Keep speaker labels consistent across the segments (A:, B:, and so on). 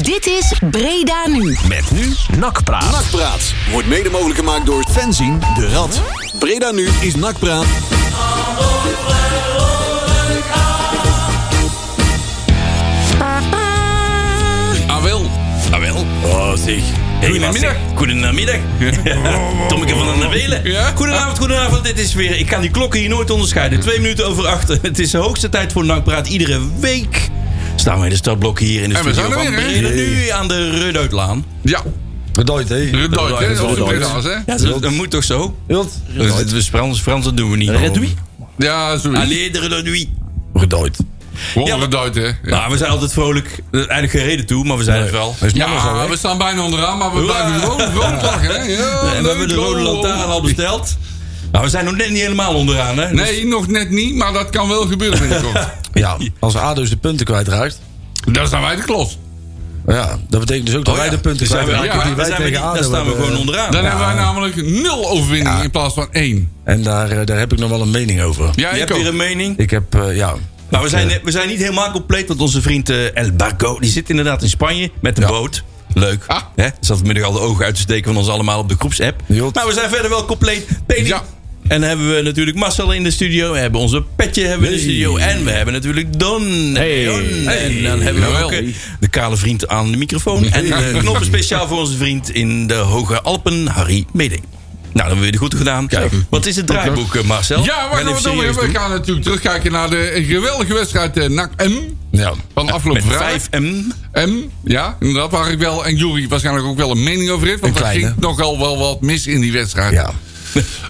A: Dit is Breda Nu.
B: Met nu Nakpraat.
C: Nakpraat wordt mede mogelijk gemaakt door Fenzien de Rad. Breda nu is Nakpraat.
D: Ah wel. Ah wel. Oh zeg. Hey,
E: Goedemiddag.
D: Lasse. Goedenamiddag. Tommeke van der Velen.
E: Ja?
D: Goedenavond, goedenavond. Dit is weer... Ik kan die klokken hier nooit onderscheiden. Twee minuten over acht. Het is de hoogste tijd voor Nakpraat. Iedere week staan we in de stadblok hier in de
E: En we
D: studio
E: zijn er
D: van
E: weer, hè?
D: Breda nu aan de Rudoutlaan.
E: Ja,
F: Bedankt, hé.
E: Rudoid, hè?
D: Rudoid.
E: Of de Breda's, hè?
D: Ja, dat, dat moet toch zo?
F: Wilt?
D: Dat is Frans, Frans, dat doen we niet.
B: Redui?
E: Ja, zoiets.
D: Allee, Ah, de Rudoui.
F: Gedooid.
D: Ja,
E: Gewoon
D: maar-
E: Rudoid, hè? Ja,
D: Nou, we zijn altijd vrolijk. Eigenlijk geen reden toe, maar we zijn het wel.
E: Ja, we staan bijna onderaan, maar we
D: Hoera.
E: blijven gewoon vrolijk lachen, hè? Ja,
D: En we hebben de
E: leuk,
D: rode
E: lol.
D: lantaarn al besteld. Nou, we zijn nog net niet helemaal onderaan, hè? Dus-
E: Nee, nog net niet, maar dat kan wel gebeuren binnenkort.
F: Ja, als ADO's de punten kwijtraakt...
E: Daar staan wij de klos.
F: Ja, dat betekent dus ook dat
D: Oh, ja.
F: wij de punten
D: Dus zijn we
F: kwijtraken
D: eigenlijk-
F: die
D: dan
F: wij
D: zijn we
F: tegen eh,
D: niet- Dan
F: ADO
D: staan we
F: hebben.
D: gewoon onderaan.
E: Dan hebben wij namelijk nul overwinning in plaats van één.
F: En daar, eh, daar heb ik nog wel een mening over.
E: Ja,
D: Je
E: ik
D: hebt weer
E: ook.
D: een mening.
F: Ik heb, eh, ja...
D: Maar we zijn, we zijn niet helemaal compleet, want onze vriend eh, El Barco... die zit inderdaad in Spanje met een boot. Leuk.
E: Ah.
D: Hè? Zat vanmiddag al de ogen uit te steken van ons allemaal op de groepsapp.
F: Jot.
D: Maar we zijn verder wel compleet. Penny.
E: Ja.
D: En dan hebben we natuurlijk Marcel in de studio. We hebben onze petje hebben we in de studio. En we hebben natuurlijk Don.
B: Hey.
D: Don. En dan hebben we
E: Jawel.
D: ook eh, de kale vriend aan de microfoon. En de knoppen speciaal voor onze vriend in de Hoge Alpen, Harry Meding. Nou, dan hebben we weer de goed gedaan. Wat is het draaiboek, eh,
E: Ja,
D: Marcel?
E: wat
D: Ga
E: gaan we
D: even
E: doen?
D: serieus
E: We gaan natuurlijk terugkijken naar de geweldige wedstrijd eh, NAC M.
F: Ja.
E: Van afgelopen
D: Met
E: vrijdag.
D: 5M.
E: M, ja, inderdaad, waar ik wel en Jury waarschijnlijk ook wel een mening over heeft. Want
F: Een
E: er
F: kleine.
E: ging nogal wel wat mis in die wedstrijd.
F: Ja.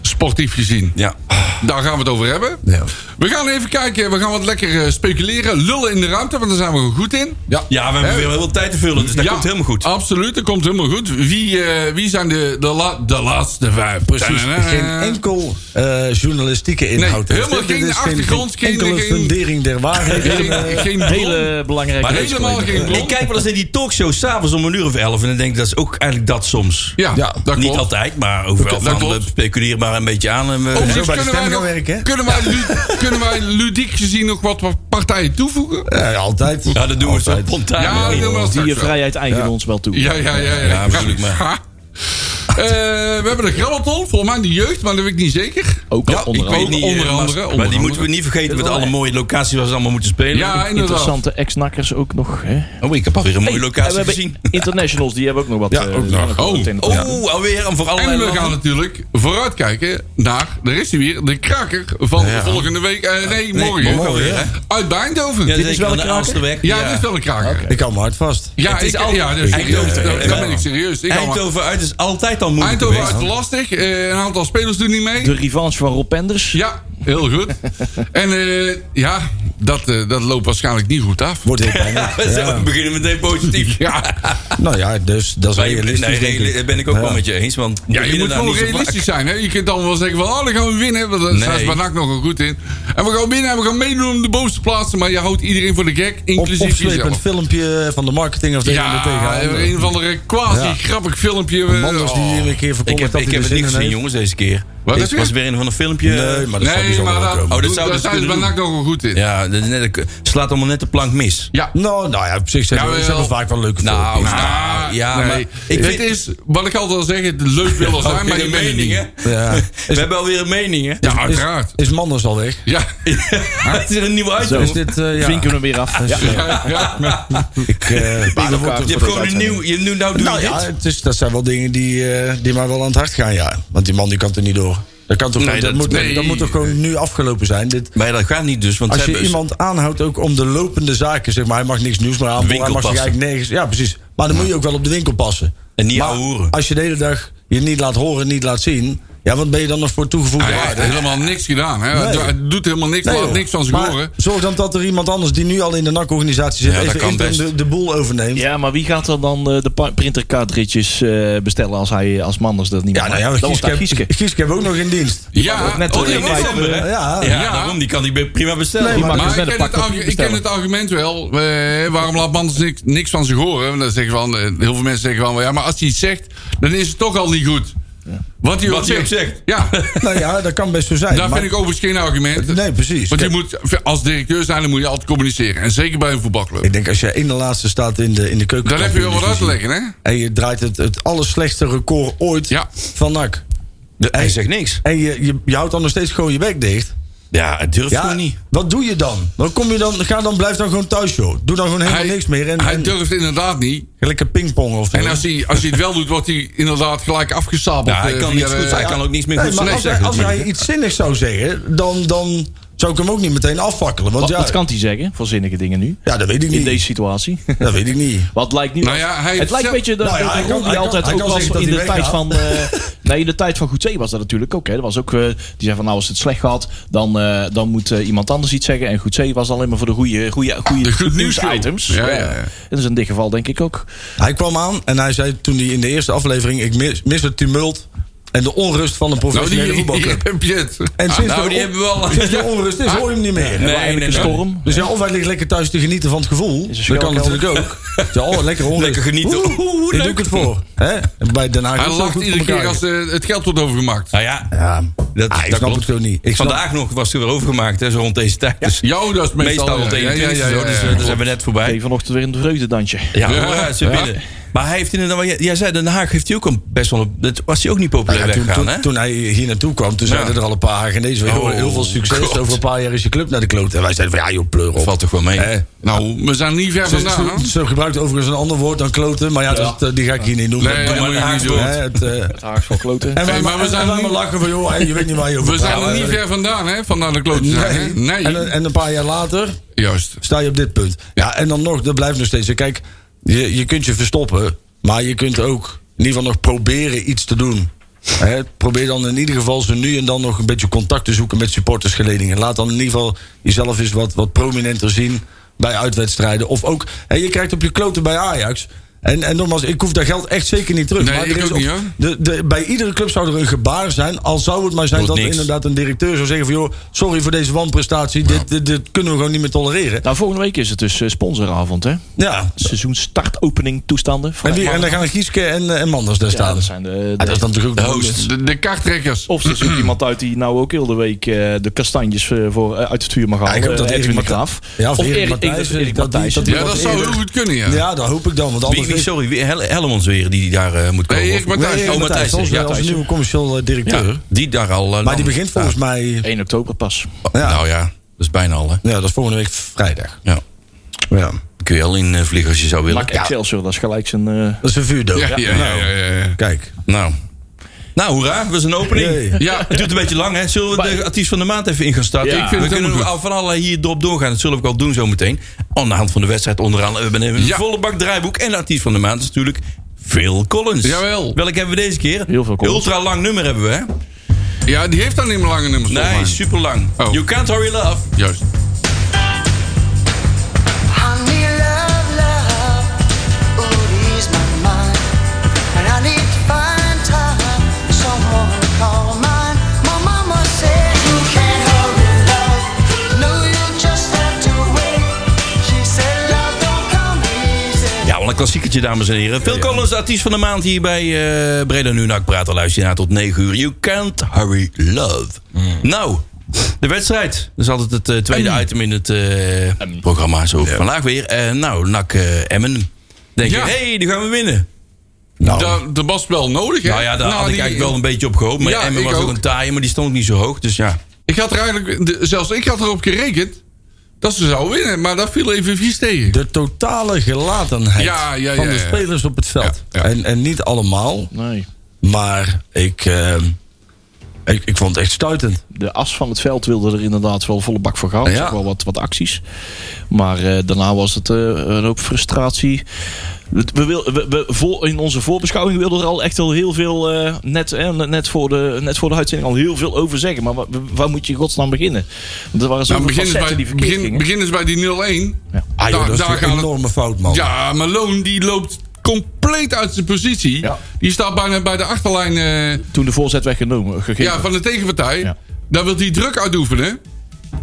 E: Sportief gezien.
D: Ja.
E: Daar gaan we het over hebben.
F: Ja.
E: We gaan even kijken, we gaan wat lekker eh, speculeren. Lullen in de ruimte, want daar zijn we goed in. Ja,
D: ja, we hebben weer heel veel tijd te vullen, dus dat komt helemaal goed.
E: Absoluut, dat komt helemaal goed. Wie, eh, wie zijn de, de, la- de laatste vijf? eh,
F: Precies.
E: Da-da-da.
F: Geen enkel eh, journalistieke inhoud.
E: Nee, helemaal
F: Dit- dit
E: geen
F: is
E: achtergrond, geen-
F: enkele
E: geen-
F: fundering der waarheid.
E: Geen, geen bron.
B: Hele belangrijke
D: Maar
B: race
E: helemaal
B: collega.
E: geen bron.
D: Ik kijk wel eens in die talkshow s'avonds om een uur of elf. En dan denk ik, dat is ook eigenlijk dat soms.
E: ja,
F: Ja,
E: dat
D: Niet
E: klopt.
D: altijd, maar overal
E: Dat
D: van.
E: klopt.
D: We speculeren maar een beetje aan. En we,
E: Overigens
F: Zo bij de
E: kunnen wij,
F: stem
E: nog,
F: gaan werken, hè?
E: kunnen, wij lu- kunnen wij ludiek gezien nog wat wat partijen toevoegen?
F: Ja, altijd.
D: ja, dat doen we zo
F: Altijd.
D: spontaan.
E: Ja,
D: hè?
E: dat doen we wel
B: Die
E: straks
B: je
E: wel.
B: vrijheid eigenen ons wel toe.
E: Ja, ja, ja. ja,
D: Ja, bedoel ik maar.
E: Ha. Eh, we hebben de grabbelton, volgens mij de jeugd, maar dat weet ik niet zeker.
B: Ook al onder
E: ik weet
B: andere.
E: niet. onder
D: eh, maar-
E: andere,
D: Maar,
E: onder
D: die moeten we
E: andere.
D: niet vergeten met
B: Wel,
D: alle
B: hè?
D: mooie locaties waar ze allemaal moeten spelen.
E: Ja, inderdaad.
B: Interessante ex-nakkers ook nog. Hè?
D: Oh, ik heb alweer een mooie
B: Hey, en we
D: locatie
B: hebben
D: gezien.
B: Internationals, die hebben ook nog wat.
F: Ja,
B: eh,
F: ook nog.
B: wat
E: Oh.
B: in-
D: Oh,
B: ja.
D: alweer. En voor allerlei
E: En we gaan
D: landen.
E: natuurlijk vooruitkijken naar, daar is hij weer, de kraker van volgende week. eh, nee, morgen.
D: morgen, hè?
E: Uit Eindhoven.
D: Ja,
E: Ja,
D: dit
B: is wel een kraker?
D: weg.
E: dit is wel een kraker.
F: Ik hou me hard vast.
E: Ja,
D: Het is
E: ik,
D: al-
E: ja, dus,
D: Eindhoven.
E: ja, ja, daar ben
D: Ja.
E: ik serieus. Ik Eindhoven,
D: Eindhoven uit is altijd al moeilijk
E: Eindhoven
D: geweest.
E: uit lastig. eh, een aantal spelers doen niet mee.
B: De revanche van Rob Penders.
E: Ja, heel goed. en eh, ja, dat, eh, dat loopt waarschijnlijk niet goed af.
F: Wordt heel pijnlijk.
D: We zijn- We beginnen meteen positief.
E: Ja,
F: Nou ja, dus dat is
D: Maar je-
F: realistisch.
D: nee,
F: denk
D: reali-
F: ik.
D: ben ik ook wel
F: Ja.
D: met je eens. Want
E: Ja, je moet gewoon realistisch zijn. Hè? Je kunt dan wel zeggen van, oh, dan gaan we winnen. Want daar
D: Nee.
E: staat Banak nog wel goed in. En we gaan winnen en we gaan meedoen om de bovenste plaatsen. Maar je houdt iedereen voor de gek,
F: Op,
E: inclusief
F: opslepend
E: jezelf.
F: filmpje van de marketing of de
E: Ja,
F: tegenhander.
E: een of andere quasi
F: Ja.
E: grappig filmpje.
F: Manders die
E: Oh.
F: hier een keer
D: Ik
F: verkondigt
D: heb,
F: dat
D: ik heb
F: hij er
D: het
F: zin
D: niet
F: in
D: gezien,
F: heeft.
D: jongens, deze keer.
E: Wat
D: Het
E: heb je?
D: was weer een van een filmpje.
F: Nee, maar dat zou niet
E: Nee,
F: zo
E: maar
F: wel
E: dat,
F: komen.
D: Oh, dat zou
E: daar
D: dus
E: zijn ze
D: kunnen
E: Banak nog wel goed in.
D: Ja, dat is net- dat slaat allemaal net de plank mis.
E: Ja.
F: Nou, nou ja, op zich zijn
E: Jawel.
F: ze hebben vaak wel leuke
D: Nou,
F: filmpjes.
D: nou, ja,
E: Nee.
D: maar ik
E: het
D: vind... Oh,
E: is, wat ik altijd al zeg, het leuk willen zijn, maar je
D: een
E: mening. niet.
D: mening, hè?
F: Ja.
D: We hebben alweer een mening, hè?
E: Ja, uiteraard.
F: Is Manders al weg?
E: Ja,
D: het is er een nieuwe
F: Is
D: uitzending.
F: dit, eh, ja.
B: Vinken we hem weer af. Ja.
E: ja, ja.
F: Ik, eh, ik word er-
D: Je hebt gewoon een nieuw... Je, nu, nou doe
F: Nou
D: je
F: ja,
D: dit.
F: het is, dat zijn wel dingen die, eh, die mij wel aan het hart gaan, ja. Want die man die kan er niet door. Dat, kan toch,
D: Nee,
F: dat,
D: dat-
F: moet,
E: nee.
F: dat moet toch gewoon nu afgelopen zijn? Dit,
D: Maar dat gaat niet dus, want
F: als
D: ze
F: je
D: hebben...
F: iemand aanhoudt ook om de lopende zaken, zeg maar. Hij mag niks nieuws meer aan. Hij mag zich
D: Winkelpassen.
F: eigenlijk nergens... Ja, precies. Maar dan moet je ook wel op de winkel passen.
D: En niet
F: Maar
D: ouwehoeren.
F: als je de hele dag je niet laat horen, niet laat zien... Ja, wat ben je dan nog voor toegevoegde
E: Ah, Hij heeft
F: waarde?
E: helemaal niks gedaan. Hè.
F: Nee.
E: Het doet helemaal niks,
F: Nee,
E: laat niks van zich
F: maar
E: horen.
F: Zorg dan dat er iemand anders die nu al in de NAC-organisatie zit...
D: Ja, dat
F: even
D: kan
F: interim
D: best.
F: de, de boel overneemt. Ja.
B: Ja, maar wie gaat er dan eh, de pa- printer cartridges eh, bestellen als hij als Manders dat niet
F: nou ja,
B: Dan wordt dat
F: Gieske,
B: Gieske.
F: Gieske hebben we ook nog in dienst. Nou
E: Ja,
B: ook net
E: oh,
B: zo
E: die
B: in
E: was
B: vijf,
E: hem, hè?
B: eh,
F: Ja,
D: Ja,
E: Ja.
D: daarom, die kan ik prima bestellen.
F: Nee, maar-
B: maakt
E: Maar
B: dus
E: ik
B: net een
E: ken, het
B: pakje
E: argu- ik ken het argument wel. eh, waarom laat Manders niks, niks van zich horen? Want Dan zeggen van, eh, heel veel mensen zeggen van... Ja, maar als hij iets zegt, dan is het toch al niet goed. Wat hij ook
D: Wat hij ook
E: zegt.
D: zegt.
E: Ja,
F: Nou ja, dat kan best zo zijn.
E: daar
F: maar-
E: vind ik overigens geen argument.
F: Nee, precies.
E: Want je
F: Kijk,
E: moet, als directeur zijn, dan moet je altijd communiceren. En zeker bij een voetbalclub.
F: Ik denk, als je in de laatste staat in de, in de keuken...
E: Dan heb je wel wat uit te leggen, hè?
F: En je draait het, het allerslechtste record ooit
E: Ja.
F: van NAC.
D: Hij zegt niks.
F: En je, je, je houdt dan nog steeds gewoon je bek dicht.
D: Ja, het durft gewoon niet.
F: wat doe je dan? Dan kom je dan, ga dan, blijf dan gewoon thuis, joh. Doe dan gewoon helemaal
E: Hij-
F: niks meer. En,
E: Hij
F: en
E: durft inderdaad niet.
F: lekker pingpong of zo.
E: En als hij, als hij het wel doet, wordt hij inderdaad gelijk afgestapeld.
D: Ja, hij
E: eh,
D: kan
E: via
D: niks
E: de-
D: goeds. Hij kan ook niks meer
F: Nee,
D: goeds
F: maar
D: nee,
F: als, hij,
D: zeggen.
F: als hij iets zinnigs zou zeggen, dan, dan zou ik hem ook niet meteen afvakkelen. Want
B: Wat,
F: ja,
B: wat kan hij zeggen voor zinnige dingen nu?
F: ja, dat weet ik
B: In
F: niet.
B: deze situatie?
F: Dat weet ik niet.
B: Wat lijkt niet.
E: Nou ja, hij heeft
B: het lijkt een
E: zelf-
B: beetje dat
F: Nou ja,
B: dat
F: hij kan-
B: Robbie
F: hij kan-
B: altijd
F: hij
B: ook
F: kan
B: was
F: zeggen dat
B: in de
F: hij
B: tijd
F: weggaat.
B: van. eh, nee, in de tijd van Goedzee was dat natuurlijk ook. Hè. Dat was ook eh, die zei van nou als het slecht gaat, dan, eh, dan moet eh, iemand anders iets zeggen. En Goedzee was alleen maar voor de goede, goede, goede
E: De goed nieuws
B: items.
E: show. Ja, ja, ja.
B: Dat is in dit geval denk ik ook.
F: Hij kwam aan en hij zei toen hij in de eerste aflevering... ik mis, mis het tumult en de onrust van een
E: Nou, die,
F: professionele
E: die, Ah,
F: voetbalclub.
E: heb je het.
F: En sinds
D: nou,
F: de
D: die
F: on-
D: hebben we wel.
F: Sinds de onrust is, hoor je hem niet meer.
B: Nee,
D: nee,
B: eigenlijk een
D: nee.
B: storm.
F: Dus ja, of hij ligt lekker thuis te genieten van het gevoel.
B: Is een
F: Dat kan natuurlijk
B: schuilkelder.
F: ook. Ja, oh, lekker onrust.
D: Lekker genieten. Oeh,
F: Oeh,
D: oeh,
F: Daar doe
D: leuk.
F: ik het voor. Hè? Bij Den Haag
E: Hij
F: is het
E: lacht
F: goed
E: iedere
F: voor
E: keer
F: elkaar.
E: als eh, het geld wordt overgemaakt.
D: Nou ja,
F: Ja,
D: dat,
F: Ah, ik
D: dat
F: snap
D: klopt.
F: het ook niet. Ik snap-
D: Vandaag nog was het weer overgemaakt, hè, zo rond deze tijd. Dus
E: Jou, dat is meestal...
D: meestal rond
E: ja,
D: 21
E: ja, ja, ja,
D: zo, dus eh,
E: ja,
D: daar zijn we net voorbij.
B: Hey, vanochtend weer een vreugdedansje.
D: Ja,
E: Ja.
D: ja. ze
E: Ja.
D: binnen. Maar hij heeft inderdaad, jij, jij zei Den Haag heeft hij ook een best wel, een- dat was hij ook niet populair
F: Ja, toen,
D: weggegaan,
F: toen-
D: hè?
F: toen hij hier naartoe kwam, toen zeiden er al een paar Hagenezen... weer,
D: Oh,
F: joh, heel veel succes,
D: God.
F: over een paar jaar is je club naar de kloot. En wij zeiden van, ja joh, pleur op.
D: Valt toch wel mee.
F: Hè?
E: Nou, we zijn niet ver
F: Ze,
E: vandaan.
F: ze-
E: hoor.
F: ze gebruikt overigens een ander woord dan kloten, maar ja, dat, eh, die ga ik hier niet noemen.
E: Nee,
F: Doe
E: dat moet
D: maar
E: je
D: een
E: niet
F: maar.
E: doen.
F: Hè, het, eh, en
B: Haars van kloten.
F: wij,
E: maar
F: maar
E: we
F: we
E: zijn niet-
F: lachen van, joh, hè, je weet niet waar je over
E: We zijn er
F: praat.
E: niet ver vandaan, hè? Vandaan de klote zijn, hè?
F: Nou, eh, Nee.
E: Nee,
F: En, eh, en een paar jaar later
E: juist.
F: sta je op dit punt. Ja, en dan nog, dat blijft nog steeds. Kijk, je, je kunt je verstoppen, maar je kunt ook in ieder geval nog proberen iets te doen. Hè, probeer dan in ieder geval zo nu en dan nog een beetje contact te zoeken met supportersgeledingen. Laat dan in ieder geval jezelf eens wat, wat prominenter zien bij uitwedstrijden. Of ook, hè, je krijgt op je kloten bij Ajax. En, en nogmaals, ik hoef dat geld echt zeker niet terug.
E: Nee,
F: er
E: ik
F: is
E: ook
F: op-
E: niet, hoor.
F: de, de, bij iedere club zou er een gebaar zijn. Al zou het maar zijn
D: Doet
F: dat er
D: niks.
F: inderdaad een directeur zou zeggen van... joh, sorry voor deze wanprestatie, dit, dit, dit kunnen we gewoon niet meer tolereren.
B: Nou, volgende week is het dus eh, sponsoravond, hè?
F: Ja,
B: Seizoenstartopening toestanden.
F: en, wie, en dan gaan Gieske en, eh, en Manders daar
B: ja,
F: staan.
B: dat zijn de,
F: Ah, dat is dan natuurlijk ook de host.
E: De, de karttrekkers.
B: Of ze zoekt iemand uit die nou ook heel de week eh, de kastanjes eh, voor, eh, uit het vuur mag halen.
F: ik hoop dat
B: Eh,
F: Erik
B: Edwin de
F: Matthijs-
B: Graaf.
F: Ja, of Erik
B: Erik- ik denk
F: Matthijs,
B: dat Erik
F: dat die-
B: Matthijs.
F: dat
E: Ja, dat
F: wat
E: zou heel
F: eerder.
E: goed kunnen, ja.
F: Ja, dat hoop ik dan. Want
D: Wie,
F: anders
D: wie,
F: weet-
D: sorry, wie, Hel- Helmonds weer, die daar eh, moet komen.
E: Nee, Erik
D: Of-
E: Matthijs.
F: Nee,
E: Oh,
F: Matthijs,
D: Matthijs,
F: onze,
D: ja,
F: onze
D: Matthijs.
F: nieuwe commercieel eh, directeur.
D: Ja, die daar al. eh,
F: Maar die
D: landt.
F: begint volgens mij...
B: 1 oktober pas.
E: oh,
F: Ja,
D: Nou ja, dat is bijna al, hè?
F: ja, dat is volgende week vrijdag.
D: Ja.
F: Ja.
D: Kun je al in eh, vliegen als je zou willen.
B: Mac Excelsior, dat is gelijk zijn... eh,
F: Dat is een vuurdoop.
E: Ja, ja, ja, ja, ja, ja.
F: Kijk.
D: Nou. Nou, hoera, dat is een opening.
F: Jee.
E: Ja.
D: Het duurt een beetje lang, hè? Zullen we de artiest van de maand even in gaan starten?
B: Ja.
D: Ik vind we
E: het
D: kunnen
E: helemaal
D: van allerlei hier erop doorgaan. Dat zullen we ook al doen zometeen. Aan de hand van de wedstrijd onderaan. We hebben een
E: Ja.
D: volle bak draaiboek. En de artiest van de maand is natuurlijk Phil Collins.
E: Jawel.
D: Welk hebben we deze keer?
B: Heel veel Collins.
D: Ultra lang nummer hebben we, hè?
E: Ja, die heeft dan niet meer lange nummers. volgens
D: Nee,
E: mij.
D: super lang.
E: Oh.
D: You can't hurry love.
E: Juist.
G: I need love, love, ooh, ease my mind. And I need to find time, someone to call mine. My mama said you can't hurry love, no, you just have to wait. She said love don't come easy.
D: Ja, wel een klassiekertje, dames en heren. Phil Collins, artiest van de maand hier bij eh, Breda Nu Nak Praten. Luister je naar tot 9 uur. You can't hurry love. Nou, de wedstrijd. Dat is altijd het eh, tweede item in het eh, programma. Zo vandaag weer. En nou, Nak eh, Emmen. Denk
E: Ja.
D: je, hé, hey, die gaan we winnen.
F: Nou.
E: Da- de was wel nodig, hè?
D: Nou ja, daar had ik
E: die-
D: eigenlijk wel een beetje op gehoopt. Maar
E: Ja,
D: Emmen
E: ik
D: was ook
E: ook.
D: een taaie, maar die stond niet zo hoog. Dus ja,
E: Ik had er eigenlijk... de- zelfs ik had erop gerekend dat ze zou winnen. Maar dat viel even vies tegen.
F: De totale gelatenheid
E: Ja, ja, ja,
F: van de
E: ja.
F: spelers op het veld.
E: Ja, ja.
F: En, en niet allemaal,
B: nee,
F: maar ik,
E: Ah,
F: ehm, ik, ik vond het echt stuitend.
B: de as van het veld wilde er inderdaad wel volle bak voor gaan.
F: Ja.
B: Er zag wel wat, wat acties. Maar eh, daarna was het eh, een hoop frustratie. We, we wil, we, we- voor, in onze voorbeschouwing wilden we er al echt al heel veel, eh, net, eh, net, voor de, net voor de uitzending, al heel veel over zeggen. Maar waar, waar moet je in godsnaam beginnen? Want er waren
E: Nou,
B: zoveel
E: begin eens,
B: facetten
E: bij,
B: die verkeerd
E: begin,
B: gingen.
E: begin eens bij die 0-1.
B: Ja.
F: Ah, joh,
E: Daar-
F: dat is
E: daar
F: toch
E: gaat
F: een
E: het-
F: enorme fout, man.
E: Ja, Malone die loopt compleet uit zijn positie.
B: Ja.
E: Die staat bijna bij de achterlijn eh,
B: Toen de voorzet weggenomen, gegeven.
E: ja, van de tegenpartij.
B: Ja.
E: Daar wil hij druk uitoefenen.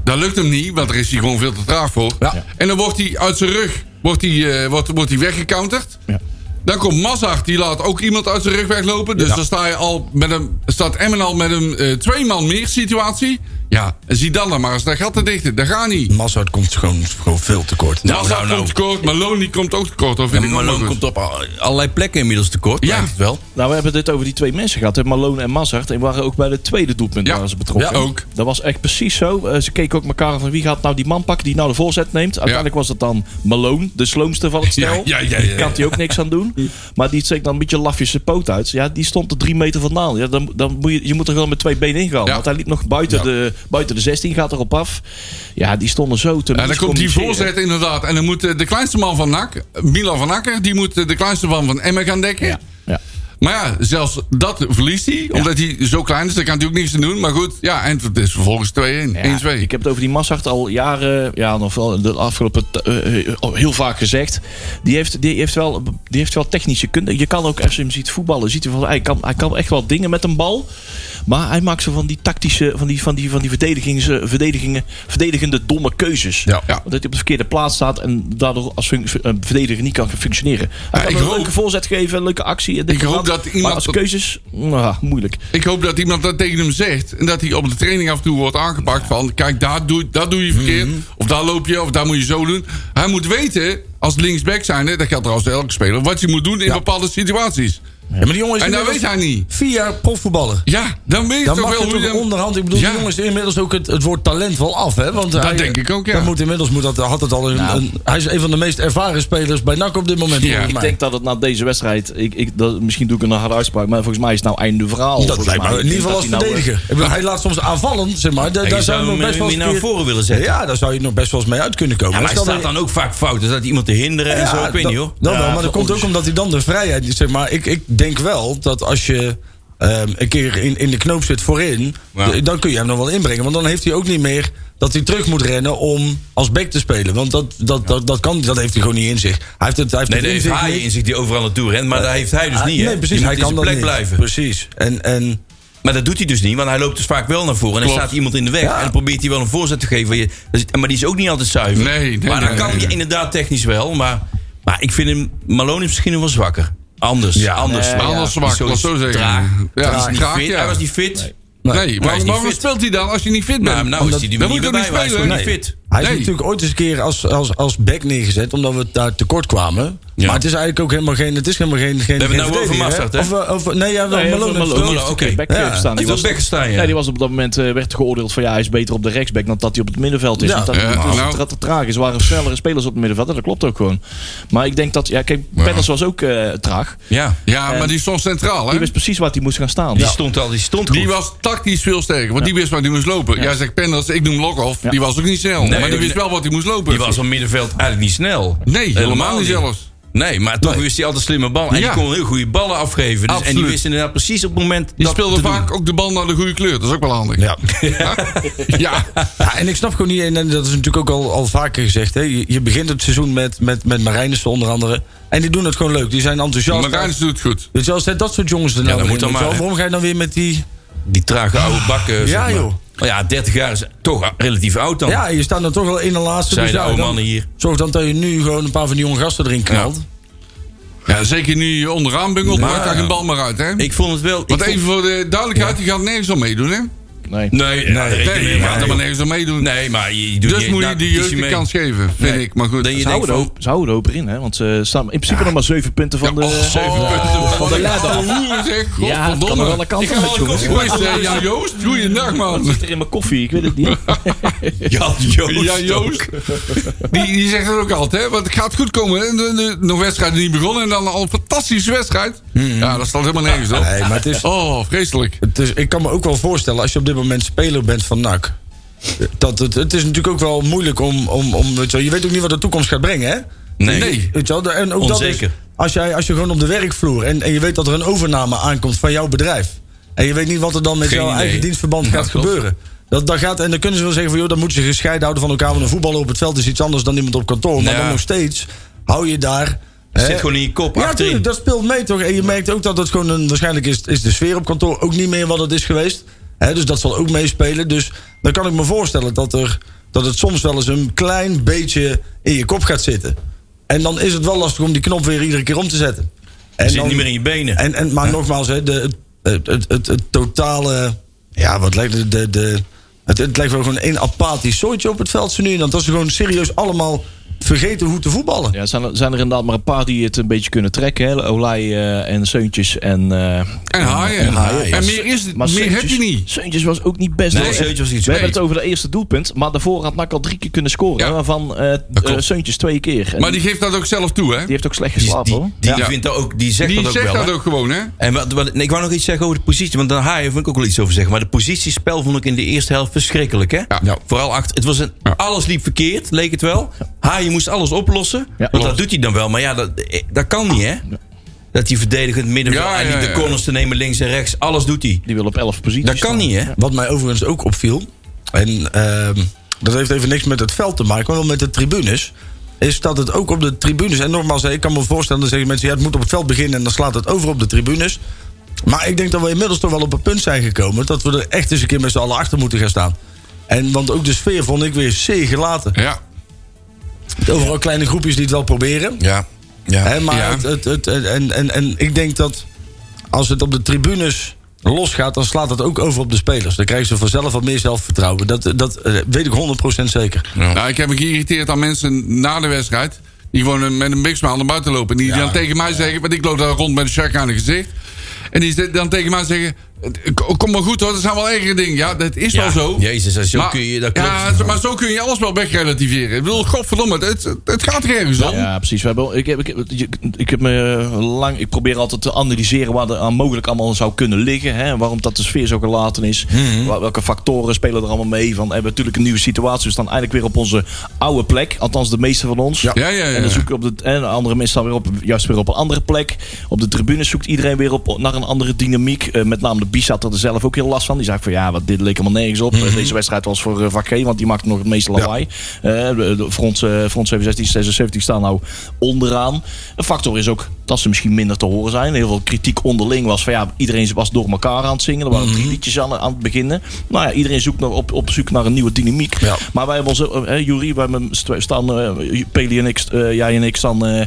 E: Dat lukt hem niet, want daar is hij gewoon veel te traag voor.
F: Ja.
E: En dan wordt hij uit zijn rug wordt hij, eh, wordt, wordt hij weggecounterd.
B: Ja.
E: Dan komt Mazzach, die laat ook iemand uit zijn rug weglopen. Dus dan sta je al met een, staat Emmen al met een eh, twee man meer situatie. Ja, en zie dan dan maar eens dat gat te dichten. Dat gaat niet.
F: Massard komt gewoon, gewoon veel tekort.
D: Nou,
E: Mazzach
D: nou, nou.
E: komt tekort, Malone die komt ook tekort. Of
D: Ja,
E: vind ik
D: maar
E: ook
D: Malone
E: nog eens.
D: komt op al- allerlei plekken inmiddels tekort.
E: Ja.
D: Ja, het wel.
B: Nou, we hebben het over die twee mensen gehad. Hè? Malone en Mazart. En waren ook bij het tweede doelpunt
E: Ja.
B: waren ze betrokken.
E: Ja, ook.
B: Dat was echt precies zo. Eh, ze keken ook elkaar aan van wie gaat nou die man pakken die nou de voorzet neemt. Uiteindelijk was dat dan Malone, de sloomste van het
E: Ja,
B: stel.
E: ja, ja, ja,
B: Die kan hij ook niks aan doen. Maar die steekt dan een beetje lafjes zijn poot uit. Ja, die stond er drie meter vandaan. Ja, dan, dan moet je, je moet er gewoon met twee benen in gaan.
E: Ja.
B: Want hij liep nog buiten, de, buiten de 16, gaat erop af. Ja, die stonden zo te
E: En dan komt die voorzet inderdaad. En dan moet eh, de kleinste man van NAC, Milan van Akker... die moet eh, de kleinste man van Emmen gaan dekken.
B: Ja, ja.
E: Maar ja, zelfs dat verliest hij. Omdat hij zo klein is, daar kan hij natuurlijk niks aan doen. Maar goed, ja, en het is vervolgens 2-1. 1-2.
B: Ja, Ik heb het over die Massart al jaren, ja, nog wel de afgelopen t- eh, eh, heel vaak gezegd. Die heeft, die, heeft wel, die heeft wel technische kunde. Je kan ook, als je hem ziet voetballen, ziet hij van hij kan, hij kan echt wel dingen met een bal. Maar hij maakt zo van die tactische, van die, van die, van die verdedigings, eh, verdedigingen, verdedigende domme keuzes.
E: Ja. Ja.
B: Omdat hij op de verkeerde plaats staat en daardoor als fun- een verdediger niet kan functioneren. Hij
E: Ja,
B: kan
E: ik
B: een
E: hoop-
B: leuke voorzet geven, een leuke actie. en dit
E: Ik
B: en
E: hoop dat iemand
B: Maar als
E: dat-
B: keuzes, nou, moeilijk.
E: Ik hoop dat iemand dat tegen hem zegt. En dat hij op de training af en toe wordt aangepakt van... kijk, daar doe, dat doe je verkeerd. Of daar loop je, of daar moet je zo doen. Hij moet weten, als linksback zijnde... dat geldt trouwens voor elke speler... wat je moet doen in bepaalde situaties.
F: Ja, maar die jongen is
E: En dat
F: inmiddels
E: weet hij niet.
F: Vier jaar profvoetballer.
E: Ja, dan weet je
F: Dan
E: toch
F: mag
E: wel
F: je
E: hoe je...
F: toch
E: hem-
F: onderhand... Ik bedoel,
E: Ja.
F: die jongens inmiddels ook het, het woord talent wel af, hè? Want hij,
E: denk ik ook, ja.
F: Dan moet inmiddels, moet dat, had het al een,
D: Nou.
F: een- hij is een van de meest ervaren spelers bij NAC op dit moment,
E: Ja.
F: volgens
B: Ik
F: mij.
B: denk dat het na deze wedstrijd. Ik, ik, dat, misschien doe ik een harde uitspraak, maar volgens mij is het nou einde verhaal.
F: dat
B: Volgens
F: lijkt
B: mij.
F: me in ieder geval
B: Dat
F: als
B: hij nou, eh,
F: verdediger. Ik bedoel, hij laat soms aanvallen, zeg maar. Daar,
D: En
F: daar
D: je
F: zou
D: zou
F: je nog
D: hem
F: best wel
D: eh,
F: eens
D: meer naar
F: een keer-
D: voren willen zetten.
F: Ja, daar zou je nog best wel eens mee uit kunnen komen.
D: Ja, maar
F: Dus
D: hij
F: dan
D: staat
F: weer-
D: dan ook vaak fout. Er staat iemand te hinderen en zo. Ik weet
F: dat,
D: niet hoor.
F: dat
B: Ja,
F: wel, maar
B: voor
F: dat komt
B: ons.
F: ook omdat hij dan de vrijheid... Zeg maar, ik, ik denk wel dat als je ehm, een keer in, in de knoop zit voorin...
D: Ja.
F: d- dan kun je hem nog wel inbrengen. Want dan heeft hij ook niet meer dat hij terug moet rennen om als back te spelen. Want dat, dat, dat, dat, kan, dat heeft hij gewoon niet in zich. Hij heeft het, hij heeft
D: Nee,
F: het
D: dat
F: in
D: heeft
F: zich
D: hij
F: niet.
D: in zich die overal naartoe rent.
E: Eh,
D: Maar dat heeft hij dus
F: Ah,
D: niet. hè?
F: Nee, precies.
D: Die
F: Hij
D: moet in
F: kan
D: zijn
F: dat
D: plek
F: niet.
D: blijven.
F: Precies. En, en
D: Maar dat doet hij dus niet, want hij loopt dus vaak wel naar voren. En dan
E: Klopt.
D: staat iemand in de weg. En dan probeert hij wel een voorzet te geven. Je- dat is- Maar die is ook niet altijd zuiver.
E: Nee, nee,
D: maar
E: nee,
D: dat kan
E: nee,
D: je
E: nee.
D: inderdaad technisch wel. Maar, maar ik vind hem... Malone is misschien nog wel zwakker. Anders. anders.
E: Maar anders
D: Die
E: zwak,
D: is
E: laat het zo zeggen.
D: Traag.
E: Ja,
D: Hij is niet
E: traag,
D: fit.
E: ja.
D: Hij was niet fit.
E: Nee,
D: hij
E: maar
D: is niet
E: waarom
D: fit.
E: speelt hij dan als je niet fit bent?
D: Nou, nou is hij die
E: Dan
D: niet
E: moet
D: meer bij.
E: hij
D: maar Hij is
E: niet
D: gewoon niet
E: spelen.
D: fit.
F: Hij is
E: Nee.
F: natuurlijk ooit eens een keer als, als, als back neergezet, omdat we daar tekort kwamen.
D: Ja.
F: Maar het is eigenlijk ook helemaal geen. Het is helemaal geen. geen we
D: hebben het nou over Mazart,
F: Of, of, nee, ja, wel Malone.
B: Nee, Malone,
F: natuurlijk.
B: die heeft
D: oké.
B: een back
F: Ja.
B: staan.
D: Hij
B: Die
D: was
B: was,
D: Bekkestein, ja.
B: nee, die was op dat moment eh, werd geoordeeld van ja, hij is beter op de rechtsback dan dat hij op het middenveld is.
F: Ja.
B: Want dat
E: Ja,
B: dat
E: nou.
B: is het tra- traag is. Er waren snellere spelers op het middenveld. En dat klopt ook gewoon. Maar ik denk dat, ja, kijk, Peters was ook eh, traag.
D: Ja.
E: Ja, maar die stond centraal, hè?
B: Die wist precies waar hij moest gaan staan. Dus,
D: Die
B: Ja.
D: stond al. Die stond goed.
E: Die was tactisch veel sterker, want die wist waar hij moest lopen. Jij zegt Penders, ik noem Lokhoff. Die was ook niet snel,
D: Nee,
E: maar die wist
D: nee.
E: wel wat hij moest lopen.
D: Die was op middenveld eigenlijk niet snel.
E: Nee, helemaal niet zelfs.
D: Nee, maar toch wist hij altijd slimme ballen. En
E: Ja.
D: die kon heel goede ballen afgeven. Dus, en die
E: Absoluut.
D: wist inderdaad precies op het moment
E: die
D: dat
E: speelde
D: te doen.
E: vaak ook de bal naar de goede kleur. Dat is ook wel handig.
F: Ja.
E: ja.
F: Ja, en ik snap gewoon niet, en en dat is natuurlijk ook al, al vaker gezegd. Hè. Je, je begint het seizoen met, met, met Marijnissen onder andere. En die doen het gewoon leuk. Die zijn enthousiast.
E: Maar Reinders doet het goed.
F: Weet je wel, zet dat soort jongens er nou
D: dat
F: weer
D: moet
F: in,
D: dan
F: weet je
D: maar,
F: wel. Waarom ga je dan weer met die...
D: Die trage oude bakken. zeg maar.
F: joh.
D: Maar ja, 30 jaar is toch relatief oud dan.
F: Ja, je staat dan toch wel in de laatste. Dus
D: Zijn Oh. de
F: ja,
D: oude
F: dan-
D: mannen hier.
F: Zorg dan dat je nu gewoon een paar van die jonge gasten erin knalt.
E: Ja, zeker nu je onderaan bungelt, maakt daar geen bal meer uit, hè?
D: Ik vond het wel... ik
E: Want
D: vond-
E: even voor de duidelijkheid, die gaat nergens om meedoen, hè?
B: Nee.
D: Nee, nee, nee,
E: Nee, die gaat er maar
D: nee,
E: nergens om meedoen.
D: nee, maar je, je doet
E: Dus
D: niet-
E: moet je
D: nou,
E: die
D: kies
E: jeugd de
D: mee.
E: kans geven, vind
D: Nee.
E: ik. Maar goed.
D: Dan je denkt
B: Ze houden,
D: van...
B: hoop, ze houden hoop erin, hè? Want eh, ze staan in principe nog maar zeven punten van de. Oh.
E: Och, Oh, zeven punten.
B: van de
E: Ja,
B: leider.
E: hoe zeg,
B: Ja, het kan
E: godverdomme.
B: er wel een kant uit, jongens.
E: Hoe is het, eh, Ja, Joost, goeiedag, man.
B: Zit er in mijn koffie, ik weet het niet.
D: Jan Joost.
E: Ja, Joost. Die, die zegt het ook altijd, hè? Want het gaat goed komen. En de, de, nog wedstrijd niet begonnen en dan al een fantastische wedstrijd. Ja, dat staat helemaal nergens op.
F: Nee, maar het is,
E: Oh, vreselijk.
F: Dus ik kan me ook wel voorstellen, als je op dit moment speler bent van NAC. Dat het, het is natuurlijk ook wel moeilijk om. om, om weet je, wel, je weet ook niet wat de toekomst gaat brengen, hè?
D: Nee.
F: Weet je wel, en ook Dat
D: Onzeker.
F: is, als, jij, als je gewoon op de werkvloer. En, en je weet dat er een overname aankomt van jouw bedrijf. En je weet niet wat er dan met
D: Geen
F: jouw
D: idee.
F: eigen dienstverband gaat
D: klopt.
F: gebeuren. Dat, dat gaat, en dan kunnen ze wel zeggen van joh, dan moeten ze gescheiden houden van elkaar. Want een voetballer op het veld is iets anders dan iemand op kantoor. Maar
D: Nou Ja.
F: dan nog steeds hou je daar. hè,
D: Zit gewoon in je kop
F: ja,
D: achterin.
F: tuurlijk, dat speelt mee toch? En je merkt ook dat het gewoon een, waarschijnlijk is, is de sfeer op kantoor ook niet meer wat het is geweest. Hè, dus dat zal ook meespelen. Dus dan kan ik me voorstellen dat, er, dat het soms wel eens een klein beetje in je kop gaat zitten. En dan is het wel lastig om die knop weer iedere keer om te zetten. En
D: zit
F: dan-
D: niet meer in je benen.
F: En, en, maar nogmaals, hè, de, het, het, het, het totale. Ja, wat lijkt het? De, de, het, het lijkt wel gewoon één apathisch zooitje op het veld. zo Nu en dan dat ze gewoon serieus allemaal vergeten hoe te voetballen.
B: Ja, zijn, er, zijn er inderdaad maar een paar die het een beetje kunnen trekken. Hè? Olij eh, en Seuntjes en... eh,
E: En haaien. En,
B: haaien.
E: meer, is, het-
B: maar
E: meer heb
B: Seuntjes-
E: je niet.
B: Seuntjes was ook niet best.
D: Nee,
B: hoor.
D: Seuntjes was niet
B: We
D: zo
B: hebben
E: goed.
B: het over het eerste doelpunt. Maar daarvoor had Nak al drie keer kunnen scoren.
E: Ja.
B: hè, Waarvan eh, eh, Seuntjes twee keer. En
E: Maar die geeft dat ook zelf toe, hè?
B: die heeft ook slecht
D: Die,
B: geslapen hoor.
D: die, die
E: Ja.
D: vindt dat ook, die zegt
E: Die
D: dat ook
E: zegt
D: wel.
E: dat
D: hè.
E: ook gewoon, hè?
D: En wat, wat- nee, ik wou nog iets zeggen over de positie, want daar Haaien vond ik ook wel iets over zeggen. Maar de positiespel vond ik in de eerste helft verschrikkelijk. Hè?
E: Ja. Ja.
D: Vooral achter. Het was een, Alles liep verkeerd, leek het wel. Haaien moest alles oplossen. want dat
B: klopt.
D: doet hij dan wel. Maar ja, dat, eh, dat kan niet, hè? Dat hij verdedigend middenveld
E: Ja,
D: en
E: ja,
D: niet
E: ja.
D: de corners te nemen links en rechts. Alles doet hij.
B: Die wil op 11 posities.
D: Dat kan
B: staan.
D: niet, hè?
F: Wat mij overigens ook opviel. En ehm, dat heeft even niks met het veld te maken, maar wel met de tribunes. Is dat het ook op de tribunes. En nogmaals, hè, ik kan me voorstellen, dan zeggen mensen: ja, het moet op het veld beginnen en dan slaat het over op de tribunes. Maar ik denk dat we inmiddels toch wel op een punt zijn gekomen. dat we er echt eens een keer met z'n allen achter moeten gaan staan. En, want ook de sfeer vond ik weer zeer gelaten.
E: Ja.
F: Overal kleine groepjes die het wel proberen.
D: Ja. ja.
F: Hè, maar
E: Ja.
F: het, het, het- en, en, en ik denk dat als het op de tribunes losgaat, dan slaat dat ook over op de spelers. Dan krijgen ze vanzelf wat meer zelfvertrouwen. Dat, dat eh, weet ik 100% zeker.
E: Nou, ik heb me geïrriteerd aan mensen na de wedstrijd. Die gewoon een- met een mixmaal naar buiten lopen. En die dan tegen mij zeggen, want ik loop daar rond met een shark aan het gezicht. En die ze- dan tegen mij zeggen, "K- kom maar goed hoor, dat zijn wel ergere dingen. Ja, dat is
D: Ja,
E: wel zo.
D: Jezus, en zo kun je- dat klopt.
E: ja, zo- maar zo kun je alles wel wegrelativeren. Ik bedoel, godverdomme, het, het, het gaat er ergens om.
B: Ja, precies. We hebben, ik, heb, ik, heb, je- ik heb me eh, lang. Ik probeer altijd te analyseren waar er aan mogelijk allemaal zou kunnen liggen. Hè? Waarom dat de sfeer zo gelaten is. Wa- Welke factoren spelen er allemaal mee? Van, hebben we natuurlijk een nieuwe situatie. We staan eigenlijk weer op onze oude plek. Althans, de meeste van ons.
E: Ja, ja, ja.
B: En dan zoeken op de, en andere mensen staan weer op, juist weer op een andere plek. Op de tribune zoekt iedereen weer op, naar een andere dynamiek. Eh, met name de Bies had er zelf ook heel last van. Die zei van ja, wat, dit leek helemaal nergens op.
E: Mhm.
B: Eh, Deze wedstrijd was voor eh, vak G, want die maakte nog het meeste lawaai. Eh de, de front, eh, front 716, 76 staan nou onderaan. Een factor is ook dat ze misschien minder te horen zijn. Heel veel kritiek onderling was van ja, iedereen was door elkaar aan het zingen. Er
F: Mhm.
B: waren drie liedjes aan, aan het beginnen. Nou ja, iedereen zoekt nog op, op zoek naar een nieuwe dynamiek.
F: Ja.
B: Maar wij hebben onze, eh, Jury, wij hebben st- staan, eh Peli en ik, st- eh, jij en ik staan eh,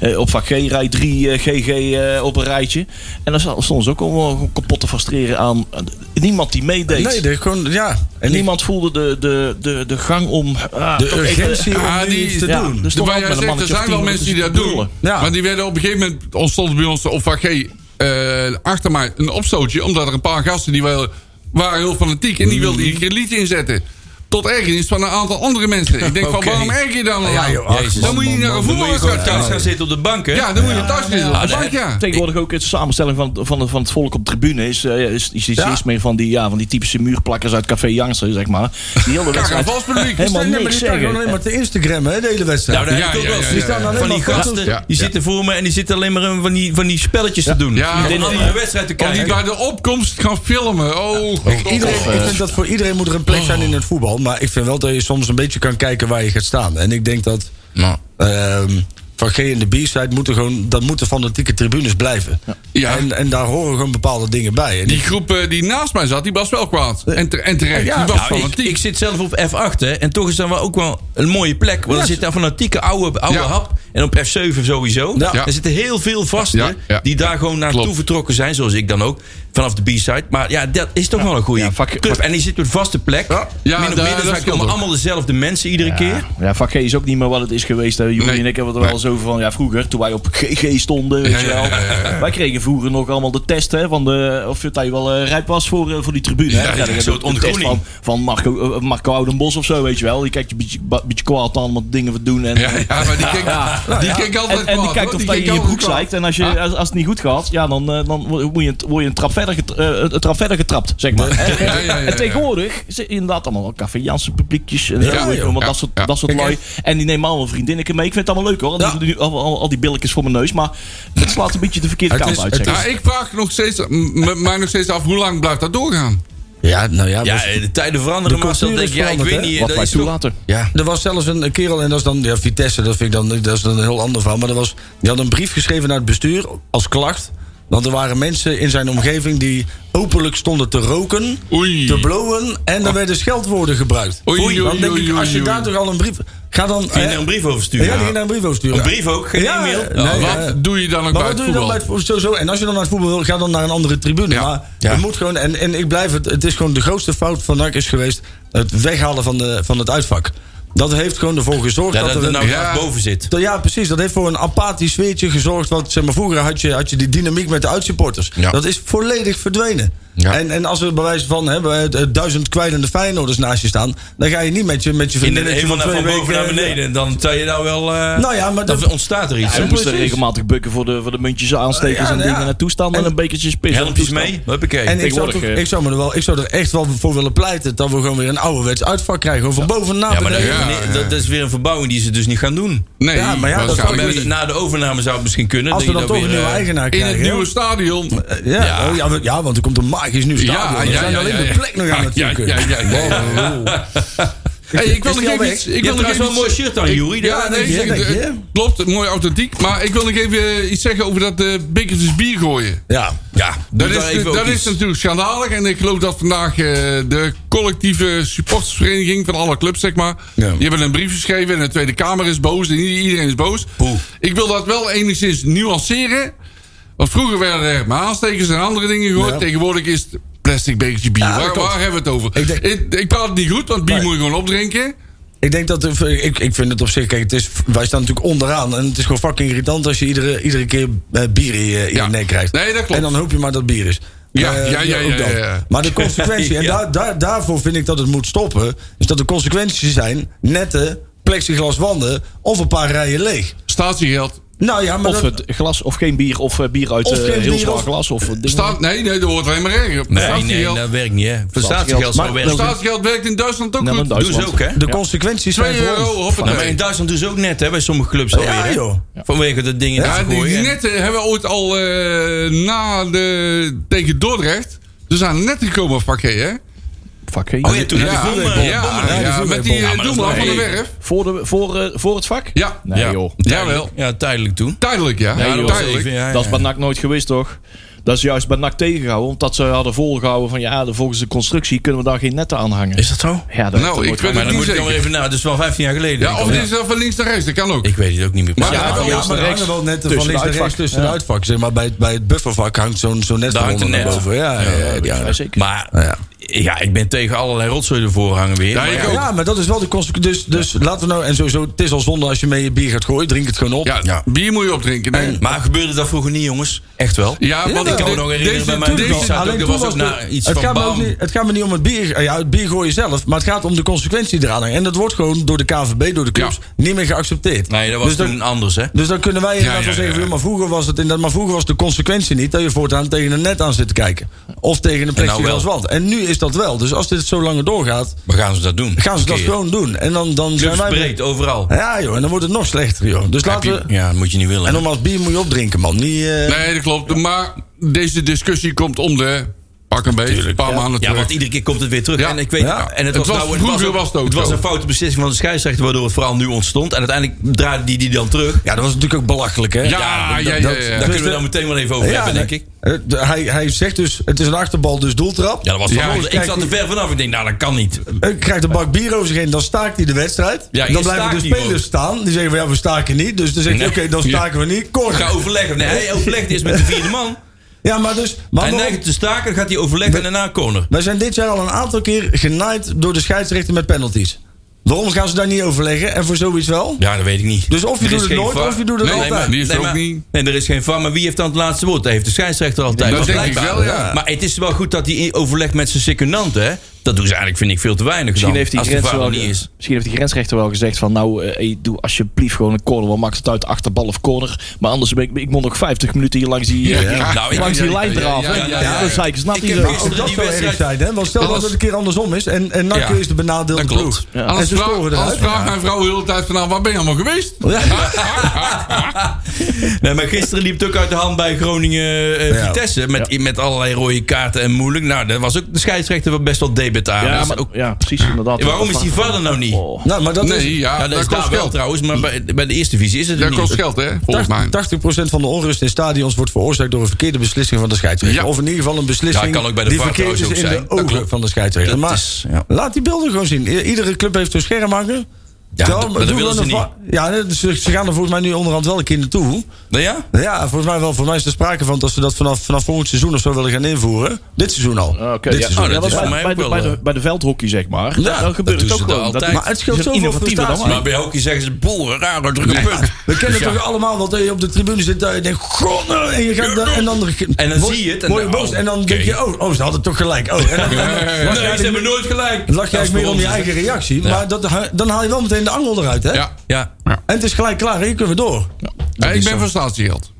B: eh, op vak G, rij 3, eh, GG eh, op een rijtje. En dan sta- stonden ze ook allemaal kapot te frustreren aan eh, niemand die meedeed.
F: Nee, dat gewoon, ja. En
B: en
F: die,
B: niemand voelde de, de, de, de gang om... ah,
F: de
B: toch even-
F: urgentie
E: Ah,
F: om nu
E: die-
F: iets te
B: ja,
F: doen.
B: dus toch
E: Waar
B: ook
E: jij
B: met een
E: zegt, er
B: mannetje of
E: zijn wel
B: tien
E: mensen die
B: minuten
E: dat
B: te
E: doen.
B: brullen.
F: Ja.
E: Maar die werden op een gegeven moment ontstond bij ons op vak G eh, achter mij een opstootje. Omdat er een paar gasten die wel, waren heel fanatiek en die wilden iedere keer een liedje inzetten. Tot ergernis van een aantal andere mensen. Ik denk
D: Oké.
E: van waarom erger je dan al
F: Ja,
E: aan?
F: joh, ach,
E: dan
D: man,
E: moet je niet naar een
D: Dan moet je gewoon
E: voetbalwedstrijd
D: thuis gaan
E: gaan.
D: zitten op de bank, hè?
E: Ja, dan moet je thuis zitten. op de
D: Ja,
E: bank, ja.
B: Tegenwoordig ook het samenstelling van, van, het- van het volk op tribune is, eh, is, is iets
F: Ja.
B: is meer van die, ja, van die typische muurplakkers uit Café Jansen, zeg maar. Die hele wedstrijd
E: valspubliek.
B: helemaal
F: Nee, maar
B: niks
F: die staan gewoon
B: zeggen.
F: alleen maar te Instagrammen, hè, de hele wedstrijd.
D: Nou, daar
E: Ja,
D: heb ik ook
E: ja,
D: wel
E: ja,
D: eens
E: ja,
D: gestaan.
E: ja,
F: ja.
D: Van die
F: Ja.
D: gasten,
E: Ja.
D: die zitten voor me en die zitten alleen maar een van die, van die spelletjes te doen.
E: Ja,
D: om
E: om
D: een
E: die-
D: andere wedstrijd te
E: Om die
D: kijken.
E: bij de opkomst gaan filmen. Oh, god.
F: Iedereen, ik vind dat voor iedereen moet er een plek zijn in het voetbal. Maar ik vind wel dat je soms een beetje kan kijken waar je gaat staan. En ik denk dat
E: Nou.
F: ehm, van G en de B-side moeten gewoon... dat moeten fanatieke tribunes blijven.
E: Ja.
F: En, en daar horen gewoon bepaalde dingen bij. En
E: Die groep eh, die naast mij zat, die was wel kwaad. En, te- en terecht.
F: Eh, Ja,
E: Die was
D: Nou, ik,
E: fanatiek.
D: ik zit zelf op F8 hè, en toch is dat wel ook wel een mooie plek. Want er zit daar fanatieke oude, oude
E: Ja.
D: hap. En op F7 sowieso.
F: Ja.
D: Er zitten heel veel vasten
E: Ja, ja.
D: die daar gewoon naartoe
E: Klopt.
D: vertrokken zijn. Zoals ik dan ook. Vanaf de B-side. Maar ja, dat is toch wel een goede
B: Ja, vak-
D: club. En die zit op een vaste plek.
E: Ja,
D: Min
E: daar-
D: of meer, dus
E: dat
D: daar
E: scheelt
D: komen
E: ook.
D: allemaal dezelfde mensen iedere keer.
B: Ja, ja, vak G is ook niet meer wat het is geweest. Hè. Jullie
E: Nee.
B: en ik hebben het er
E: Nee.
B: wel eens over van ja, vroeger, toen wij op GG stonden. Weet
E: Ja,
B: je
E: ja,
B: wel.
E: ja, ja, ja.
B: Wij kregen vroeger nog allemaal de test hè, van de, of het hij wel eh, rijp was voor, eh, voor die tribune. hè.
D: Ja,
B: dan
D: ja,
B: heb je
D: een soort
B: ook de test
D: ontgroening.
B: Van, van Marco, eh, Marco Oudenbos of zo, weet je wel. Die kijkt je een beetje, ba- beetje kwaad aan, wat dingen wat doen. En, eh,
E: Ja, ja, maar die keek,
F: Nou
E: die keek altijd
B: en, en die
E: kwaad,
B: kijkt
E: hoor.
B: of dat je in
E: keek
B: je broek
E: altijd kwaad.
B: zeikt. En als, je, als, als het niet goed gaat, ja, dan, eh, dan wo- moet je, een- word je een trap verder, getra- eh, een trap verder getrapt, zeg maar.
E: Ja, ja, ja, ja,
B: En tegenwoordig zit inderdaad allemaal wel Café Jansen publiekjes. En
E: Ja,
B: zo, weet je wel,
E: joh.
B: maar dat
E: Ja,
B: soort,
E: ja.
B: dat soort
E: Kijk,
B: lui. En die nemen allemaal vriendinneken mee. Ik vind het allemaal leuk hoor. Al die, al, al- al die billetjes voor mijn neus. Maar het slaat een beetje de verkeerde
F: Het
B: kant
F: is-
B: uit.
F: het
B: Zeg.
E: Ja, ik vraag nog steeds, m- mij nog steeds af, hoe lang blijft dat doorgaan?
F: Ja, nou ja.
D: Ja, eh,
F: was-
D: de tijden veranderen.
F: de
D: maar dan
F: cultuur
D: denk
F: is
D: ik, ja, ik
F: veranderd,
D: weet
F: hè,
D: niet. eh,
B: Wat
D: dat
B: wij
D: is toch-
B: toelaten.
D: Ja.
F: Er was zelfs een kerel, en dat is dan ja, Vitesse, dat vind ik dan, dat is dan een heel ander verhaal. Maar dat was, die had een brief geschreven naar het bestuur als klacht. Want er waren mensen in zijn omgeving die openlijk stonden te roken,
E: Oei. Oh.
F: te blowen en er werden scheldwoorden gebruikt.
E: Oei, oei,
F: dan denk
E: oei,
F: ik, als je
E: oei,
F: daar
E: oei.
F: toch al een brief... Ga dan...
D: Kun je
F: eh,
D: daar een brief over
F: ja,
D: sturen?
F: die ging daar een brief over sturen.
D: Een brief ook? Geen
F: Ja,
D: e-mail? Oh,
F: eh, nee,
E: Wat
F: eh,
E: doe je dan ook
F: maar
E: bij
F: wat
E: het
F: doe je dan
E: voetbal?
F: bij het voetbal? Sowieso. En als je dan naar het voetbal wil, ga dan naar een andere tribune.
E: Ja.
F: Maar
D: Ja.
F: je moet gewoon... En, en ik blijf het... Het is gewoon de grootste fout van NAC is geweest... het weghalen van, de, van het uitvak. Dat heeft gewoon ervoor gezorgd
D: Ja,
F: dat,
D: dat er
F: er een-
D: nou
E: Ja.
D: graag boven zit.
F: dat- ja, precies. Dat heeft voor een apathisch sfeertje gezorgd. Want zeg maar, vroeger had je, had je die dynamiek met de uitsupporters.
D: Ja.
F: Dat is volledig verdwenen.
D: Ja.
F: En, en als er bij wijze van hè, bij, eh, duizend kwijlende Feyenoorders naast je staan... dan ga je niet met je, met je
D: In de,
F: vriendinnetje
D: helemaal
F: van
D: naar
F: twee
D: van
F: weken...
D: boven naar
F: eh,
D: beneden. Dan zou je nou wel... eh,
F: Nou ja, maar
D: dan
F: dat-
D: ontstaat er iets.
B: Ze moesten
F: precies.
B: regelmatig bukken voor de, voor de muntjes eh, aanstekers
F: Ja,
B: en
F: nou
B: dingen
F: ja.
B: naartoe staan. En
F: En-
B: een bekertje pis.
D: Helmpjes mee. Huppakee.
F: En ik zou,
B: Tegenwoordig,
F: toch,
B: eh.
F: ik, zou me er wel, ik zou er echt wel voor willen pleiten dat we gewoon weer een ouderwets uitvak krijgen. Over bovenaan.
D: ja, maar dat,
E: Ja, ja.
D: dat is weer een verbouwing die ze dus niet gaan doen.
E: Nee,
F: Ja, maar ja, dat
E: waarschijnlijk
F: kan ik
E: niet.
D: Met- Na de overname zou het misschien kunnen.
F: als we
D: dat
F: dan
D: je
F: toch
D: weer,
F: een nieuwe
D: eh,
F: eigenaar
E: In
F: krijgen.
E: het
F: hè?
E: nieuwe stadion.
F: Eh, Ja,
D: Ja.
F: Oh, ja, want- ja, want er komt een magisch nieuw
E: Ja,
F: stadion. we
E: ja,
F: zijn
E: ja,
F: alleen
E: ja,
F: de
E: ja.
F: plek nog aan het
E: Ja,
F: zoeken.
E: ja, ja, ja, ja. Hey, ik wil
F: Is
E: nog
F: die al
E: even
F: weg?
E: iets. Ik
D: Je
E: wil
D: hebt
E: nog even
D: trouwens wel een mooi
E: iets-
D: shirt aan, Joeri.
E: Ja, nee,
F: je,
E: zeg-
F: denk je.
E: eh, klopt, mooi authentiek. Maar ik wil nog even eh, iets zeggen over dat eh bekertjes bier gooien.
F: Ja.
D: Ja,
E: Dat,
D: doe
E: is,
D: daar even ook
E: dat is
D: iets.
E: natuurlijk schandalig. En ik geloof dat vandaag eh, de collectieve supportersvereniging van alle clubs, zeg maar.
F: Ja.
E: Die hebben een brief geschreven en de Tweede Kamer is boos. En iedereen is boos.
D: Poeh.
E: Ik wil dat wel enigszins nuanceren. Want vroeger werden er maar aanstekers en andere dingen gehoord.
F: Ja.
E: Tegenwoordig is het plastic bekertje bier.
F: Ja, dat
E: waar,
F: klopt.
E: waar hebben we het over? Ik,
F: Ik denk-
E: ik, praat het niet goed, want bier
F: Nee.
E: moet je gewoon opdrinken.
F: Ik denk dat... de- Ik, ik vind het op zich... Kijk, het is, wij staan natuurlijk onderaan. En het is gewoon fucking irritant als je iedere, iedere keer eh, bier in je, in je
E: Ja.
F: nek krijgt.
E: Nee, dat klopt.
F: En dan hoop je maar dat het bier is.
E: Ja,
F: Eh,
E: ja, ja,
F: ook
E: ja,
F: dat.
E: ja, ja.
F: Maar de consequentie, en
D: Ja.
F: daar, daar, daarvoor vind ik dat het moet stoppen... is dat de consequenties zijn nette plexiglas wanden of een paar rijen leeg.
E: Statiegeld.
F: Nou ja, maar
B: Of
F: dat-
B: het glas, of geen bier, of eh, bier uit
F: Of
B: eh,
F: geen
B: heel
F: bier,
B: zwaar
F: of-
B: glas. Of, eh, dingen.
E: Staat, nee, nee, dat wordt alleen maar erger.
D: Nee, nee,
E: statiegeld,
D: dat werkt niet, hè. Voor statiegeld zou
B: Maar-
D: werken.
E: statiegeld werkt in Duitsland ook
B: Nee, maar
E: goed.
B: in
D: Doen ze
B: Duitsland.
D: ook, hè.
F: de consequenties zijn
E: 2
F: voor
E: euro,
F: ons.
E: hoppatee.
D: Nou, maar in Duitsland doen ze ook net, hè, bij sommige clubs alweer.
F: Ja,
D: hè.
F: joh.
D: Vanwege dat ding in
E: Ja,
D: te
E: die
D: gooien.
E: netten hebben we ooit al eh, na de, tegen Dordrecht. Er zijn net gekomen op pakket, hè?
B: Vak, hè?
D: Oh ja, toen had
E: ja,
D: je
E: ja,
D: bommen- bommen.
E: ja, ja, met die
D: Ja, maar
E: eh,
D: dat is
E: doelman van de
D: wel-
E: werf.
B: Voor, de, voor, eh, voor het vak?
E: Ja.
B: Nee joh.
E: Jawel.
D: Ja, tijdelijk toen.
E: Tijdelijk, ja.
B: Nee,
E: Ja,
B: joh.
E: tijdelijk.
D: Ja, ja.
B: Dat is bij NAC nooit geweest, toch? Dat is juist bij NAC tegengehouden. Omdat ze hadden volgehouden van ja, de- volgens de constructie kunnen we daar geen netten aan hangen.
D: dat zo?
B: Ja, dat
E: Nou, ik weet
D: Maar
E: het
D: dan
E: niet
D: moet ik dan weer
E: zeker.
D: even... Nou, dat is wel 15 jaar geleden.
E: Ja, of
D: denk
E: dit
D: ik
E: is dan van links naar rechts, dat kan ook.
D: al. Ik weet het ook niet meer.
E: Maar-
D: precies.
E: Ja,
F: Ja,
E: maar
F: ja, maar er hangen
B: rechts.
F: wel net van links
B: Tussen de
F: naar rechts
B: uitvak.
F: tussen de uitvak. Zeg maar bij, het- bij het buffervak hangt zo'n zo'n net
D: Daar hangt
F: eronder
D: een
F: naar
D: net.
F: boven. Ja, ja, ja, ja.
B: zeker.
D: Maar
F: Ja.
D: ja, ik ben tegen allerlei rotzooi ervoor hangen weer. Maar
E: ik
D: ja,
E: ook.
F: Ja, maar dat is wel de consequentie. Dus, dus laten we nou, en sowieso, het is al zonde als je mee je bier gaat gooien. Drink het gewoon op.
E: Ja,
D: Ja.
E: bier moet je opdrinken. nee.
D: Maar gebeurde dat vroeger niet, jongens? Echt wel?
E: Ja, want
D: ik kan me
E: de-
D: nog herinneren
E: deze-
D: bij mijn
E: deze-
D: vriend zaten ook,
F: Alleen
D: er
F: toen
D: was ook
F: was
D: na
F: de-
D: iets
F: het,
D: van
F: gaat me ook
D: bam.
F: niet, het gaat me niet om het bier, ja, het bier gooien zelf, maar het gaat om de consequentie eraan. hangen. En dat wordt gewoon door de KVB, door de clubs, niet meer geaccepteerd.
D: Nee, dat was
F: dus, dan-
D: toen anders, hè?
F: dus dan kunnen wij inderdaad
E: ja,
F: wel zeggen,
E: ja.
F: joh, maar vroeger was het inderdaad, maar vroeger was de consequentie niet dat je voortaan tegen een net aan zit te kijken. Of tegen een
D: nou
F: plexiglas
D: wel.
F: wand. En nu is dat wel. Dus als dit zo langer doorgaat,
D: Maar gaan ze dat doen?
F: gaan ze dat
D: Verkeerd.
F: gewoon doen. En dan, dan zijn wij.
D: Clubs breed, overal.
F: Ja, joh, en dan wordt het nog slechter, joh. Dus laten we.
D: Ja, dat moet je niet willen.
F: En nogmaals, bier moet je opdrinken, man. Niet, eh,
E: Nee, dat klopt. Maar deze discussie komt om de... Pak een beetje, een paar maanden
D: Ja, want
E: terug.
D: iedere keer komt het weer terug.
E: Ja.
D: En ik weet,
F: Ja.
D: en het
E: Het
D: was,
E: was-
D: nou,
E: vroeger was het ook
D: was
E: zo.
D: een foute beslissing van de scheidsrechter, waardoor het verhaal nu ontstond. En uiteindelijk draaide die die dan terug.
F: Ja, Dus dat was natuurlijk ook belachelijk, hè?
E: Ja, ja, ja, ja.
D: Daar kunnen we dan meteen wel even over hebben, denk ik.
F: eh, de- hij, hij zegt dus, het is een achterbal, dus doeltrap. Eh,
D: Ja, dat was
E: Ja,
D: toch
E: ik
D: ik,
F: kijk,
D: zat er ver vanaf. Ik denk, nou, dat kan niet.
F: Hij krijgt een bak bier over zich heen, dan staakt hij de wedstrijd.
D: Ja,
F: dan
D: je
F: blijven de
D: staakt
F: spelers
D: die ook.
F: staan. Die zeggen van, ja, we staken niet. Dus dan zegt hij,
D: Nee.
F: oké, dan staken we niet. Kort.
D: Ga overleggen. Nee, hij overlegt eerst met de vierde man.
F: Ja, maar dus... Maar
D: Hij
F: waarom-
D: neigt te staken, dan gaat hij overleggen en daarna corner.
F: wij zijn dit jaar al een aantal keer genaaid door de scheidsrechter met penalties. Waarom gaan ze daar niet overleggen? En voor zoiets wel?
D: Ja, dat weet ik niet.
F: Dus of je
D: Er
F: doet
D: is
F: het
D: geen
F: nooit,
D: VAR.
F: of je doet het
E: Nee,
F: altijd.
E: maar- Die is er ook
D: maar-
E: niet.
D: Nee, er is geen van. Maar wie heeft dan het laatste woord? Dat heeft de scheidsrechter altijd.
E: Dat
D: Maar
E: denk ik
D: blijkbaar-
E: wel, ja.
D: Maar het is wel goed dat hij overlegt met zijn secundant, hè? Dat doen ze eigenlijk, vind ik, veel te weinig.
B: Misschien
D: dan,
B: heeft, die
D: als de
B: grens
D: VAR
B: wel
D: er niet
B: ge-
D: is.
B: misschien heeft die grensrechter wel gezegd van nou, eh, hey, doe alsjeblieft gewoon een corner. Want maakt het uit achterbal of corner. Maar anders ben ik, ik moet nog 50 minuten hier langs die, eh,
E: ja.
D: Nou, ik-
B: langs die
D: ja,
B: lijn
E: ja,
B: draven.
E: ja, ja, ja, ja.
B: Dat zei ik, snap
D: Ik
B: je
D: heb
B: wel.
D: gisteren-
F: Ook dat
D: Die
F: zou erg
D: wedstrijd-
F: zijn, hè? Want stel
E: Dat
F: dat
E: was-
F: het een keer andersom is en, en NAC
D: Ja,
F: is de benadeelde
D: dat klopt.
F: ploeg.
D: Ja.
E: Anders,
F: en ze
E: vraag-
F: scoren
E: anders
F: eruit.
E: vraagt mijn vrouw de hele tijd van, nou, waar ben je allemaal geweest?
F: Ja.
D: Nee, maar gisteren liep het ook uit de hand bij Groningen eh,
F: Ja.
D: Vitesse. Met, met allerlei rode kaarten en moeilijk. Nou, dat was ook de scheidsrechter wel best wel betalen.
B: Ja,
D: Dat is
B: maar,
D: ook-
B: ja, precies inderdaad.
D: Waarom is die vader nou niet?
B: Oh.
F: Nou, maar dat
E: Nee,
F: is,
E: ja,
D: Ja,
E: dat,
D: dat is
E: kost
D: daar wel
E: geld.
D: trouwens, maar bij, bij de eerste visie is het er
E: Dat
D: niet.
E: kost geld, hè? Volgens mij.
F: 80%, van de onrust in stadions wordt veroorzaakt door een verkeerde beslissing van de scheidsrechter.
E: Ja.
F: Of in ieder geval een beslissing
D: Ja, kan ook bij de
F: die
D: VAR
F: verkeerd is
D: trouwens
F: in
D: ook
F: de
D: zijn. Dat
F: ogen
D: klopt.
F: van de scheidsrechter.
D: Dat
F: Maar
D: is- ja.
F: laat die beelden gewoon zien. I- Iedere club heeft zo'n scherm hangen.
D: Ja,
F: Tel-
D: dat- maar
F: doe
D: dat willen
F: dan
D: ze
F: een
D: niet.
F: va- Ja, dus ze, ze gaan er volgens mij nu onderhand wel een keer naartoe.
D: Nou ja?
F: Ja, volgens mij wel. Volgens mij is er sprake van dat ze dat vanaf, vanaf volgend seizoen of zo willen gaan invoeren. Dit seizoen al.
B: Ah, oké,
F: Dit
B: ja.
F: seizoen.
D: Oh,
B: Ja,
D: dat
B: want
D: is
B: bij,
D: voor mij
B: bij
D: ook
B: de,
D: wel,
B: bij, de,
D: eh.
B: bij de veldhockey, zeg maar.
F: Ja,
B: Ja, dan gebeurt
D: doen
B: het ook
D: ze
B: gewoon.
D: altijd.
B: Dat-
F: Maar het scheelt
B: ze zijn
F: zoveel
B: innovatiever dan
F: frustratie.
B: wij.
D: Maar bij hockey zeggen ze, boer, raar, drukke punt.
F: We
D: Dus
F: kennen
D: ja.
F: toch allemaal wat dat je op de tribune zit daar en je denkt, god, nee," en je gaat dan, en dan,
D: En dan zie je het en
F: word je
D: dan-
F: boos en dan
D: oké.
F: denk je, oh, oh, ze hadden toch gelijk. Oh, en dan,
D: Nee, ze hebben nooit gelijk.
F: lach je
D: Dat is
F: eigenlijk meer
D: voor
F: om je
D: ons.
F: eigen reactie, maar dat, dan haal je wel meteen de angel eruit, hè?
E: Ja.
D: Ja. Nou,
F: En het is gelijk klaar, hier kunnen we door.
E: Hey, ik ben van statiegeld.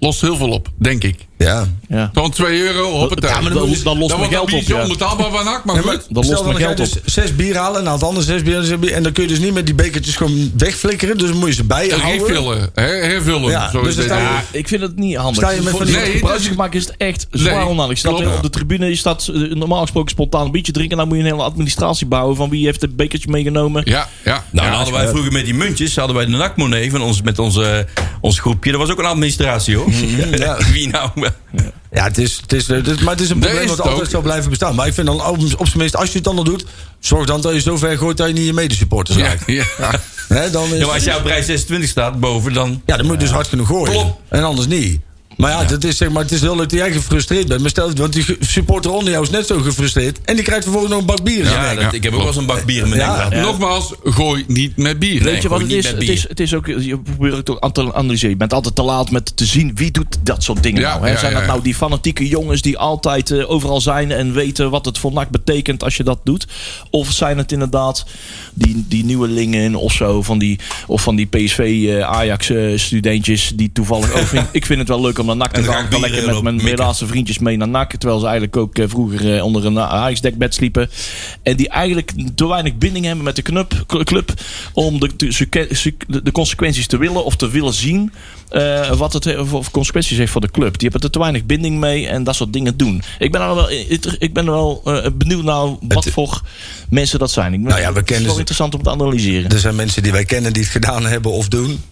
E: Lost heel veel op, denk ik.
F: Ja.
B: Ja.
E: Gewoon 2 euro, hoppatee.
B: Ja, maar dan- dan lost mijn
E: wordt
B: geld
E: een biertje
B: op, ja.
E: onbetaalbaar van hak, maar
F: maar
E: goed.
B: dan
F: stel
B: lost mijn
F: ga je
B: geld op.
F: dus zes bier halen en haalt anders zes bier zes bier, en dan kun je dus niet met die bekertjes gewoon wegflikkeren, dus dan moet je ze bij je
E: Ja,
F: houden.
E: Hervullen, hè, hervullen.
F: Ja,
E: zo
F: dus
E: is
F: dan
E: het.
F: sta je-
E: Ja,
B: Ik vind het niet handig.
F: Sta je met
B: Voor
F: van
B: de
F: die-
E: Nee,
B: gebruikersgemaakt is het echt zwaar
E: Nee,
B: onhandig. Je staat
E: klopt.
B: op de tribune, je staat eh, normaal gesproken spontaan een biertje drinken. En dan moet je een hele administratie bouwen van wie heeft het bekertje meegenomen.
E: ja. ja.
D: Nou, dan hadden wij vroeger met die muntjes, hadden wij de nakmonee van ons, met onze, eh, ons groepje. Dat was ook een administratie, hoor.
F: ja.
D: Wie nou?
F: Ja, het is, het is, het is- maar het is een
E: Nee,
F: probleem
E: is
F: dat
E: het
F: altijd
E: ook.
F: zal blijven bestaan. Maar ik vind dan op, op zijn minst, als je het dan al doet, zorg dan dat je zo ver gooit dat je niet je medesupporters
E: Ja,
F: raakt.
E: ja.
F: Hè, dan is,
D: Ja, maar als jouw prijs 26 staat boven, dan...
F: ja, dan moet je dus hard kunnen gooien.
D: Klopt.
F: En anders niet. Maar ja, Dat is, zeg maar, het is heel leuk dat jij gefrustreerd bent. Maar stel, want die ge- supporter onder jou is net zo gefrustreerd. En die krijgt vervolgens nog een bak bier. in zijn
D: Ja,
F: nek.
D: dat, ik heb ook wel eens een bak bier in mijn
F: Ja.
D: nek gehad.
E: Nogmaals, gooi niet met bier.
B: Weet
D: Nee,
B: je wat het
D: gewoon niet
B: is?
D: met
B: Het
D: bier.
B: is, het is ook, je probeert het ook aan te analyseren. Je bent altijd te laat met te zien wie doet dat soort dingen
E: Ja,
B: nou. Hè?
E: ja,
B: zijn
E: ja,
B: dat
E: ja.
B: nou die fanatieke jongens die altijd eh, overal zijn en weten wat het voor NAC betekent als je dat doet? Of zijn het inderdaad die, die nieuwelingen of zo van die, of van die PSV eh, Ajax eh, studentjes die toevallig ook vind, ik vind het wel leuk om naar NAC te
D: En dan
B: gaan.
D: ga
B: Ik
D: ik
B: kan
D: bieren
B: lekker met
D: op
B: mijn
D: mikken.
B: middelste vriendjes mee naar NAC. Terwijl ze eigenlijk ook eh, vroeger eh, onder een Ajax-dekbed sliepen. En die eigenlijk te weinig binding hebben met de knup- cl- club. Om de, de, suke- su- de- de consequenties te willen of te willen zien. eh, wat het he- voor voor consequenties heeft voor de club. Die hebben er te weinig binding mee en dat soort dingen doen. Ik ben er wel, inter- ik ben er wel eh, benieuwd naar wat voor mensen dat zijn. Ik ben,
F: Nou ja, we
B: het is
F: kennen
B: wel
F: ze.
B: interessant om te analyseren.
F: Er zijn mensen die wij kennen die het gedaan hebben of doen.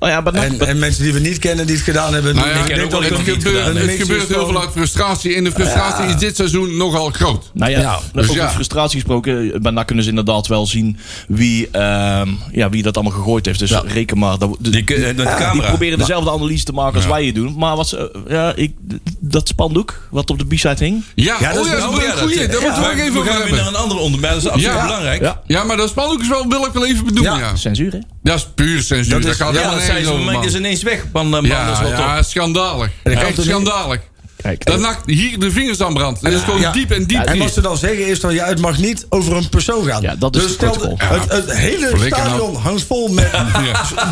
B: nou ja, bij NAC-
F: En,
B: bij-
F: en mensen die we niet kennen die het gedaan hebben. en
E: Nou
F: doen.
E: ja,
F: Ik denk
E: het,
F: dat
D: ook wel
F: ik-
D: dat het
E: gebeurt,
D: gedaan
E: het
F: heb.
E: gebeurt heel veel uit frustratie. En de frustratie is dit seizoen nogal groot.
B: Nou ja,
F: Ja,
B: dus
E: dus
B: over
E: ja.
B: frustratie gesproken. eh, Bijna kunnen ze inderdaad wel zien wie, ehm, ja, wie dat allemaal gegooid heeft. Dus reken maar. Dat, de-
D: Die, kun- met de
B: die
D: camera. Oh,
B: proberen dezelfde analyse te maken als wij je doen. Maar wat, ze- eh, ja, ik, d- dat spandoek wat op de b-side hing.
E: Ja,
F: Ja, dat
E: oh
F: is
E: ja,
F: wel-
E: dat is
D: ja,
E: een
D: dat-
E: goeie. Daar
D: ja.
E: moeten we ook
D: Maar
E: even
D: we
E: over
D: gaan weer naar
E: hebben.
D: een ander onderwerp. Dat is absoluut
E: Ja.
D: belangrijk.
B: Ja.
E: Ja, maar dat spandoek is wel, wil ik wel even benoemen. Ja.
F: Ja.
B: Censuur, hè?
E: Dat is puur censuur. Dat,
F: Dat is-
E: gaat
D: Ja,
E: helemaal
D: dat zijn
E: nergens
D: ze
E: over,
D: van mij,
E: man.
D: is ineens weg. Man, man, dat is
E: Ja,
D: wel
E: ja,
D: top.
E: schandalig.
F: dat kan
E: Echt
F: toch niet-
E: schandalig.
B: Kijk,
E: Dat
B: eh,
E: nakt hier de vingers aan brandt. En dat is gewoon
F: Ja.
E: diep en diep.
F: En wat
E: diep.
F: ze dan zeggen is dan, ja, het mag niet over een persoon gaan.
B: Ja, dat is
F: dus
B: het
F: stel,
B: protocol.
F: het, het hele
E: Flikker nou.
F: stadion hangt vol met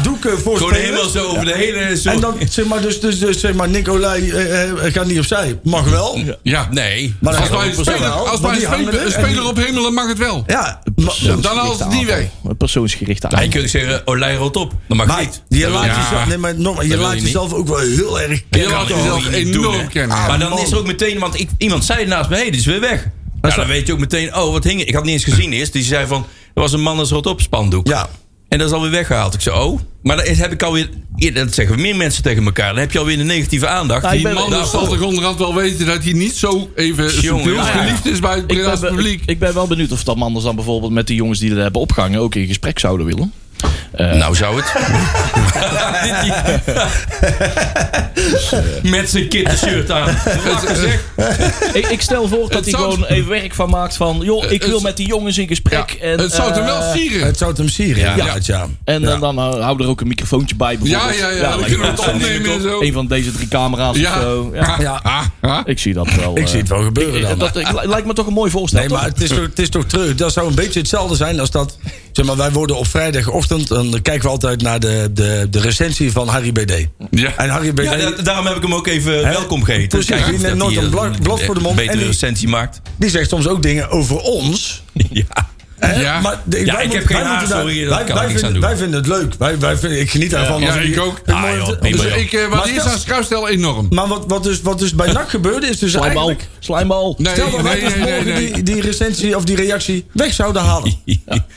F: doeken voor
D: Gewoon
F: spelers.
D: helemaal zo over de hele... zo-
F: En dan, zeg maar, dus, dus, dus zeg maar, Nicolai eh, eh, gaat niet opzij. Mag wel. Ja,
E: Ja.
D: Nee.
F: Maar dan
E: Als
F: gaat
E: wij
F: het
E: een
F: op
E: speler,
F: personeel,
E: als wij
F: want
E: een
F: die hangen
E: speler,
F: er
E: een
F: en die-
E: speler ophemelen, mag het wel.
F: ja maar,
E: Dan haalt het niet weg.
B: Een eh, persoonsgerichte
D: Hij
B: aanval.
D: kun je zeggen, Olij rolt op. Dat mag
F: maar
D: niet.
F: je
D: Dat
F: laat,
D: wil je
F: jezelf,
D: niet.
F: nee, maar, nog- je
D: wil
F: laat
D: je niet.
F: jezelf ook wel heel erg
E: Je
F: kennen.
E: laat
D: Dat wil
E: jezelf
D: je niet doen,
E: enorm
D: hè.
E: kennen.
D: maar dan
F: Ah, man.
D: is er ook meteen, want ik, iemand zei naast me, hé, die is weer weg. Ja, dan weet je ook meteen, oh, wat hing er? Ik had niet eens gezien eerst. Die zei van, er was een man als rot op spandoek.
F: Ja.
D: En dat is alweer weggehaald. Ik zei, oh. Maar dan is- heb ik alweer, ja, dat zeggen meer mensen tegen elkaar. Dan heb je alweer de negatieve aandacht.
B: Nou, ik
E: Die
B: ben-
E: man
B: Nou,
E: zal toch onderhand wel weten dat hij niet zo even
D: Jongen,
E: subtiel
D: ja, ja.
E: geliefd is bij het
B: ik, ben,
E: Breda's
B: wel- ik,
E: publiek.
B: ik ben wel benieuwd of dat anders dan bijvoorbeeld met de jongens die er hebben opgehangen ook in gesprek zouden willen.
D: Nou zou het. Met zijn kittenshirt aan. Lachen zeg.
B: ik, ik stel voor dat
E: Het
B: hij
E: zou-
B: gewoon even werk van maakt van... joh, ik
E: het-
B: wil met die jongens in
E: Ja,
B: gesprek. en,
E: het zou hem
B: eh,
E: wel sieren.
F: Het zou het hem sieren, ja. inderdaad, ja.
B: En dan, dan eh, hou er ook een microfoontje bij
E: Ja,
B: bijvoorbeeld.
E: ja, ja. Dan
B: lijkt me
E: kunnen we het
B: wel.
E: opnemen en zo.
B: Een van deze drie camera's of
E: Ja.
B: zo. Ja,
F: Ja.
E: Ah, ah.
B: ik zie dat wel.
F: Ik
B: eh.
F: zie het wel gebeuren dan.
B: Ik- dat, ik- lijkt me toch een mooi voorstel.
F: Nee, maar
B: toch?
F: het is, toch, het is toch terug. Dat zou een beetje hetzelfde zijn als dat. Zeg maar, wij worden op vrijdagochtend. Dan kijken we altijd naar de, de, de recensie van Harry BD.
E: Ja.
F: En Harry BD.
D: Ja, da- daarom heb ik hem ook even
F: Hè?
D: welkom geheten.
F: Precies,
D: Kijken
F: die
D: of
F: neemt
D: dat
F: nooit
D: hij
F: een blad- blad voor de mond en
D: Betere
F: die-
D: recensie maakt.
F: Die zegt soms ook dingen over ons.
D: Ja.
F: Hè?
E: Ja.
F: maar
D: Ja,
F: de- wij
D: ik
F: moeten-
D: heb geen
F: wij
D: haar,
F: moeten daar-
D: sorry, daar
F: Wij,
D: kan
F: wij
D: ik niks
F: vinden,
D: aan doen.
F: wij vinden het leuk. Wij, wij vinden, ik geniet daarvan.
E: Ja,
F: als
E: ik
F: hier-
E: ook.
F: een
D: Ah,
F: mooie-
D: joh,
F: dus
D: prima,
F: ik-
D: joh.
E: Ik, eh, wat
F: Maar
E: hier
F: stel-
E: aan schuifstel enorm.
F: Maar wat, wat, dus, wat dus bij NAC gebeurde is dus
B: Slijmbal.
F: eigenlijk...
B: Slijmbal.
E: Nee,
F: Stel dat wij
E: nee,
F: dus
E: nee, nee,
F: morgen
E: nee.
F: Die, die recensie of die reactie weg zouden halen.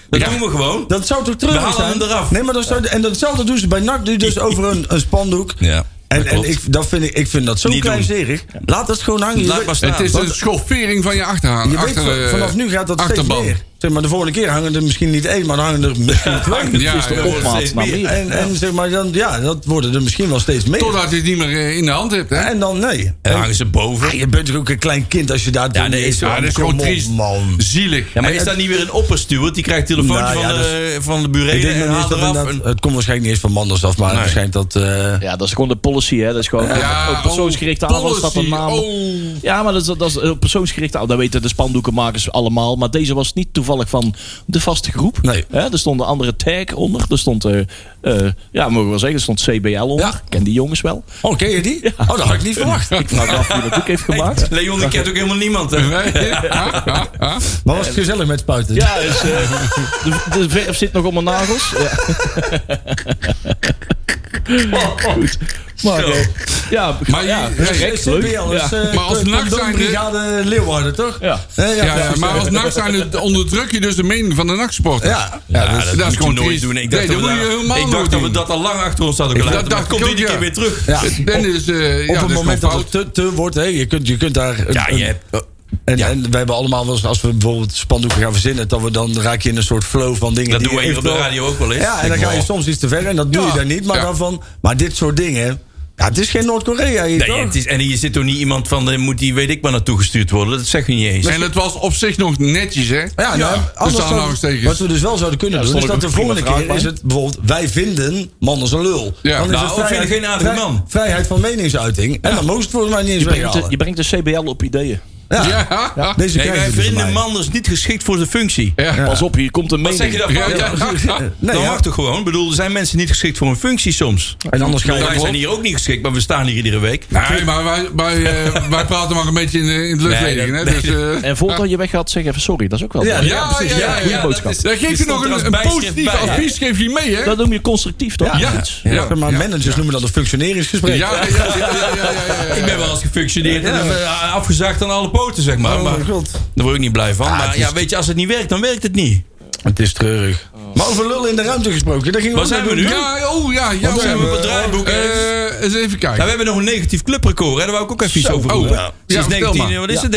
D: Dat doen we gewoon.
F: Dat zou toch
D: We
F: treurig
D: halen
F: zijn?
D: hem eraf.
F: Nee, maar dat zou, en datzelfde doen ze bij NAC nu dus over een, een spandoek.
D: Ja,
F: En,
D: dat
F: en
D: klopt.
F: ik, dat vind ik, ik vind dat zo
D: Niet doen.
F: kleinzerig. Laat dat gewoon hangen. Je
D: Laat
F: weet-
D: maar staan.
E: Het is een schoffering van je achterhaan.
F: Je
E: achter,
F: weet, van-
E: eh,
F: vanaf nu gaat dat
E: achterban.
F: steeds meer. Zeg maar, de volgende keer hangen er misschien niet één, maar dan hangen er misschien twee.
E: Ja,
B: is de
E: ja,
B: opmaat naar meer.
F: En, en zeg maar, dan, ja, dat worden er misschien wel steeds meer.
E: Totdat je het niet meer eh, in de hand hebt, hè?
F: En dan, nee.
D: En hangen ze boven.
F: Ah, je bent toch ook een klein kind als je daar...
D: Ja, nee, is zo.
E: Ja, dat is
F: Kom
E: gewoon
F: op,
E: triest.
F: man.
E: Zielig.
D: Ja, maar is daar niet weer een opperstuurt? Die krijgt een telefoontje
F: Nou ja,
D: van,
F: dat
D: de, van de
F: Ik
D: burelen
F: denk
D: en
F: nog niet eens
D: haalt
F: dat
D: eraf.
F: inderdaad-
D: een-
F: Het komt waarschijnlijk niet eens van Manders af, maar het schijnt dat... eh,
B: Ja, dat is gewoon de policy, hè. Dat is gewoon
E: Ja,
B: eh, op persoonsgerichte
E: oh,
B: aanval staat een
E: policy,
B: naam.
E: oh.
B: Ja, maar dat is, dat is eh, op persoonsgerichte aanval. Dat weten de spandoekenmakers allemaal. Maar deze was niet toevallig van de vaste groep.
F: Nee.
B: Hè, er stond een andere tag onder. Er stond, eh, eh, ja, mogen we wel zeggen, er stond CBL onder.
F: Ja.
B: Ken die jongens wel.
F: Oh, ken je die? Oh, dat had ik niet verwacht.
B: Ik vraag me af wie dat ook heeft gemaakt.
D: Leon, die kent ook helemaal niemand. hè?
E: Nee? Ah, Ha, ha, ha.
F: Maar was het gezellig met spuiten?
B: Ja, dus, eh, de, de verf zit nog om mijn nagels. Ja. Goed. Maar,
D: Zo.
B: eh, ja,
E: Maar
B: ja,
E: je-
B: dat is
E: ja,
B: gek, leuk. Ja.
F: Eh,
E: Maar als nacht zijn-
F: brigade Leeuwarden, toch?
B: Ja.
F: Eh,
E: Ja, ja, maar als nacht zijn het- onderdruk je dus de mening van de nachtsporter.
F: Ja.
D: Ja, dat,
E: dat is
D: moet je
E: gewoon
D: nooit
E: triest.
D: doen. Ik
E: Nee,
D: dacht,
E: dat
D: dat, we
E: moet je
D: daar-
E: helemaal
D: ik dacht
E: nooit
D: dat we
E: doen.
D: dat al lang achter ons hadden gelaten.
E: dat
D: maar
E: dacht
D: komt
E: ik ook,
D: iedere
E: ja.
D: keer weer terug.
F: Ja.
E: Dennis, eh ja,
F: op
E: dat
F: het
E: is
F: moment dat
E: gewoon
F: het
E: fout.
F: te, te wordt, hè, je, kunt, je kunt daar... een-
D: dus Ja, je
F: een- eh,
D: hebt-
F: En,
D: ja.
F: en we hebben allemaal wel eens, als we bijvoorbeeld spandoeken gaan verzinnen, dat we dan raak je in een soort flow van dingen.
D: Dat
F: die
D: doen we
F: je
D: hier op de
F: eventueel-
D: radio ook wel eens.
F: Ja, en dan
D: Ik
F: ga je
D: wel.
F: soms iets te ver en dat doe
E: Ja.
F: je daar niet. Maar,
E: Ja.
F: dan van, maar dit soort dingen, ja, het is geen Noord-Korea hier,
D: Nee,
F: toch?
D: het is, en hier zit toch niet iemand van, eh, moet die weet ik maar naartoe gestuurd worden. Dat zeg je niet eens.
E: En het was op zich nog netjes, hè?
F: Ja, nou,
E: anders
F: anders zou, wat
E: aanhalingstekens.
F: we dus wel zouden kunnen
B: Ja,
F: doen, is
B: stond
F: dat
B: ik
F: de
B: ook prima
F: volgende keer
B: vraag
F: is
B: bij.
F: het bijvoorbeeld... wij vinden man is een lul.
E: Ja.
F: Dan is
E: Nou,
F: het
D: of vind je geen aardige
F: vrij-
D: man.
F: Vrijheid van meningsuiting. En dan moest het volgens mij niet eens
B: Je brengt, de,
F: weghalen.
B: je brengt de CBL op ideeën.
F: Ja.
E: Ja. Ja.
F: Deze
D: Nee,
F: krijgen dus
D: mijn
F: jullie
D: vrienden
F: van mij.
D: man is niet geschikt voor zijn functie.
E: Ja.
B: Pas op, hier komt een
D: Wat
B: mening.
D: zeg je daarvan?
E: Ja, ja, ja.
F: Nee,
D: dat
F: ja.
D: mag toch gewoon? Ik bedoel, er zijn mensen niet geschikt voor hun functie soms.
F: En anders ga
D: wij
F: je...
D: zijn hier ook niet geschikt, maar we staan hier iedere week.
E: Nee, maar wij, wij, eh, wij praten maar een beetje in, de- in het luchtledige,
D: Nee,
E: hè?
D: dat-
E: Dus, eh,
B: En voordat je weg gaat, zeg even sorry. Dat is ook wel
F: Ja,
B: mooi.
E: ja,
F: precies.
E: ja, ja,
B: goede
E: ja.
B: boodschap.
D: dat is-
E: Daar
D: die
E: geeft u
D: stond
E: nog
D: er als
E: een, een
D: bijschrift
E: positief
D: bij, hè?
E: advies, geeft u mee, hè?
B: Dat noem je constructief, toch?
F: Ja.
B: Iets.
E: Ja.
F: Zeg maar managers noemen dat een
E: Ja,
F: functioneringsgesprek.
E: ja, ja, ja, ja, ja, ja, ja.
D: Ik ben wel eens gefunctioneerd en eh, afgezaagd aan alle poten, zeg maar.
F: Oh,
D: maar
F: mijn god.
D: daar word ik niet blij van.
E: Ah,
F: het
D: maar
F: is-
D: ja, weet je, als het niet werkt, dan werkt het niet.
F: Het is treurig. Maar over lullen in de ruimte gesproken, daar gingen we
D: Waar Oh. zijn
F: ook
D: we
F: naartoe.
D: nu?
E: Ja, oh ja, ja.
D: Zijn we
E: ja.
D: op het draaiboek? Nou,
E: Eh, eens even kijken.
D: we hebben nog een negatief clubrecord, hè? daar wou ik ook even iets over
E: oh,
D: roepen.
E: ja. Ja,
D: Sinds
E: vertel
D: 19,
E: maar.
D: eh, wat is het,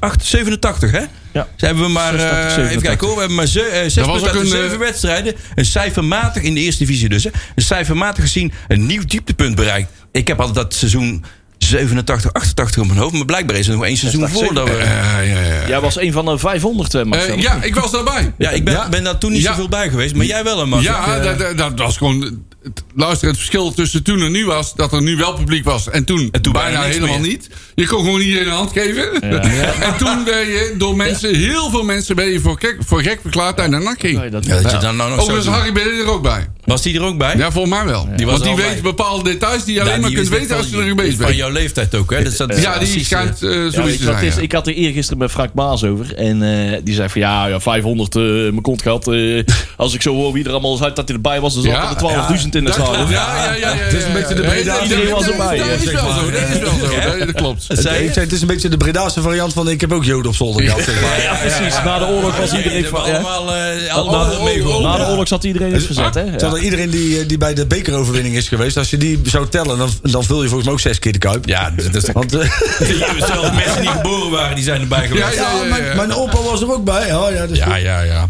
D: 1987, hè?
B: Ja.
D: Ze hebben we maar, eh,
B: 86,
D: even kijken hoor, we hebben maar ze, eh, zes
E: was
D: punten
E: ook
D: uit de
E: een,
D: zeven
E: eh,
D: wedstrijden. Een cijfermatig, in de eerste divisie dus, hè, een cijfermatig gezien een nieuw dieptepunt bereikt. Ik heb al dat seizoen 87, 88 op mijn hoofd, maar blijkbaar is er nog één seizoen voor dat we...
E: Eh, ja, ja.
B: Jij was een van de 500, eh, Marcel.
E: Eh, ja, ik was daarbij.
D: Ja, ik ben,
E: Ja.
D: ben daar toen niet
E: Ja.
D: zoveel bij geweest, maar jij wel, hè, Mark? Ik,
E: Ja,
D: eh,
E: dat, dat, dat was gewoon. het- Luister, het verschil tussen toen en nu was dat er nu wel publiek was en toen,
D: En toen
E: bijna,
D: bijna niks
E: helemaal
D: meer.
E: niet. Je kon gewoon iedereen een hand geven. en toen ben je door mensen, heel veel mensen, ben je voor gek, voor gek verklaard en daarna ging.
B: Nee, dat-
D: ja, dat je dan nou nog zo
E: Overigens,
D: doet.
E: Harry ben je er ook bij.
D: eh, Was die er ook bij?
E: Ja, volgens mij wel.
D: was
E: Want die
D: er al
E: weet
D: bij.
E: bepaalde details die je alleen
D: Ja,
E: maar
D: die
E: kunt
D: is
E: weten
D: van-
E: als je er bezig
D: Van
E: bent.
D: jouw leeftijd ook, hè? Dus dat,
E: Ja, die
D: precies,
E: schijnt eh,
B: Ja,
E: zoiets
B: weet
E: te
B: je wat het
E: zijn.
B: is?
E: ja.
B: Ik had er eergisteren met Frank Maas over. En eh, die zei van ja, ja 500 eh, mijn kont gehad. eh, als ik zo hoor wie er allemaal is uit dat hij erbij was, dan zat
E: Ja,
B: er 12.000 in de
E: Dat
B: zaal.
E: klopt, ja, ja, ja, ja.
F: Het is een beetje de Breda-
B: Iedereen was erbij,
E: Dat
B: hè,
E: is
F: zeg
E: wel
F: maar.
E: zo, dat is wel zo. Dat- Dat klopt.
D: eh, zei
F: Ik
D: je?
F: zei, het is een beetje de Bredaanse variant van ik heb ook joden op zolder gehad. zeg maar.
B: Ja, precies. Na de oorlog was
D: Ja, die
B: iedereen
D: hebben
B: van. ja.
D: allemaal eh, allemaal
E: oh,
D: meegeholpen.
B: Na de oorlog zat iedereen in het verzet, hè? Ja.
F: Terwijl iedereen die, eh, die bij de bekeroverwinning is geweest, als je die zou tellen, dan, dan vul je volgens mij ook zes keer de kuip.
D: Ja, dus dat is
F: Want, eh,
D: zelfs mensen die geboren waren, die zijn erbij geweest.
E: Ja, ja, ja.
F: mijn, mijn opa was er ook bij. Oh, ja, dus
D: Ja, ja, ja.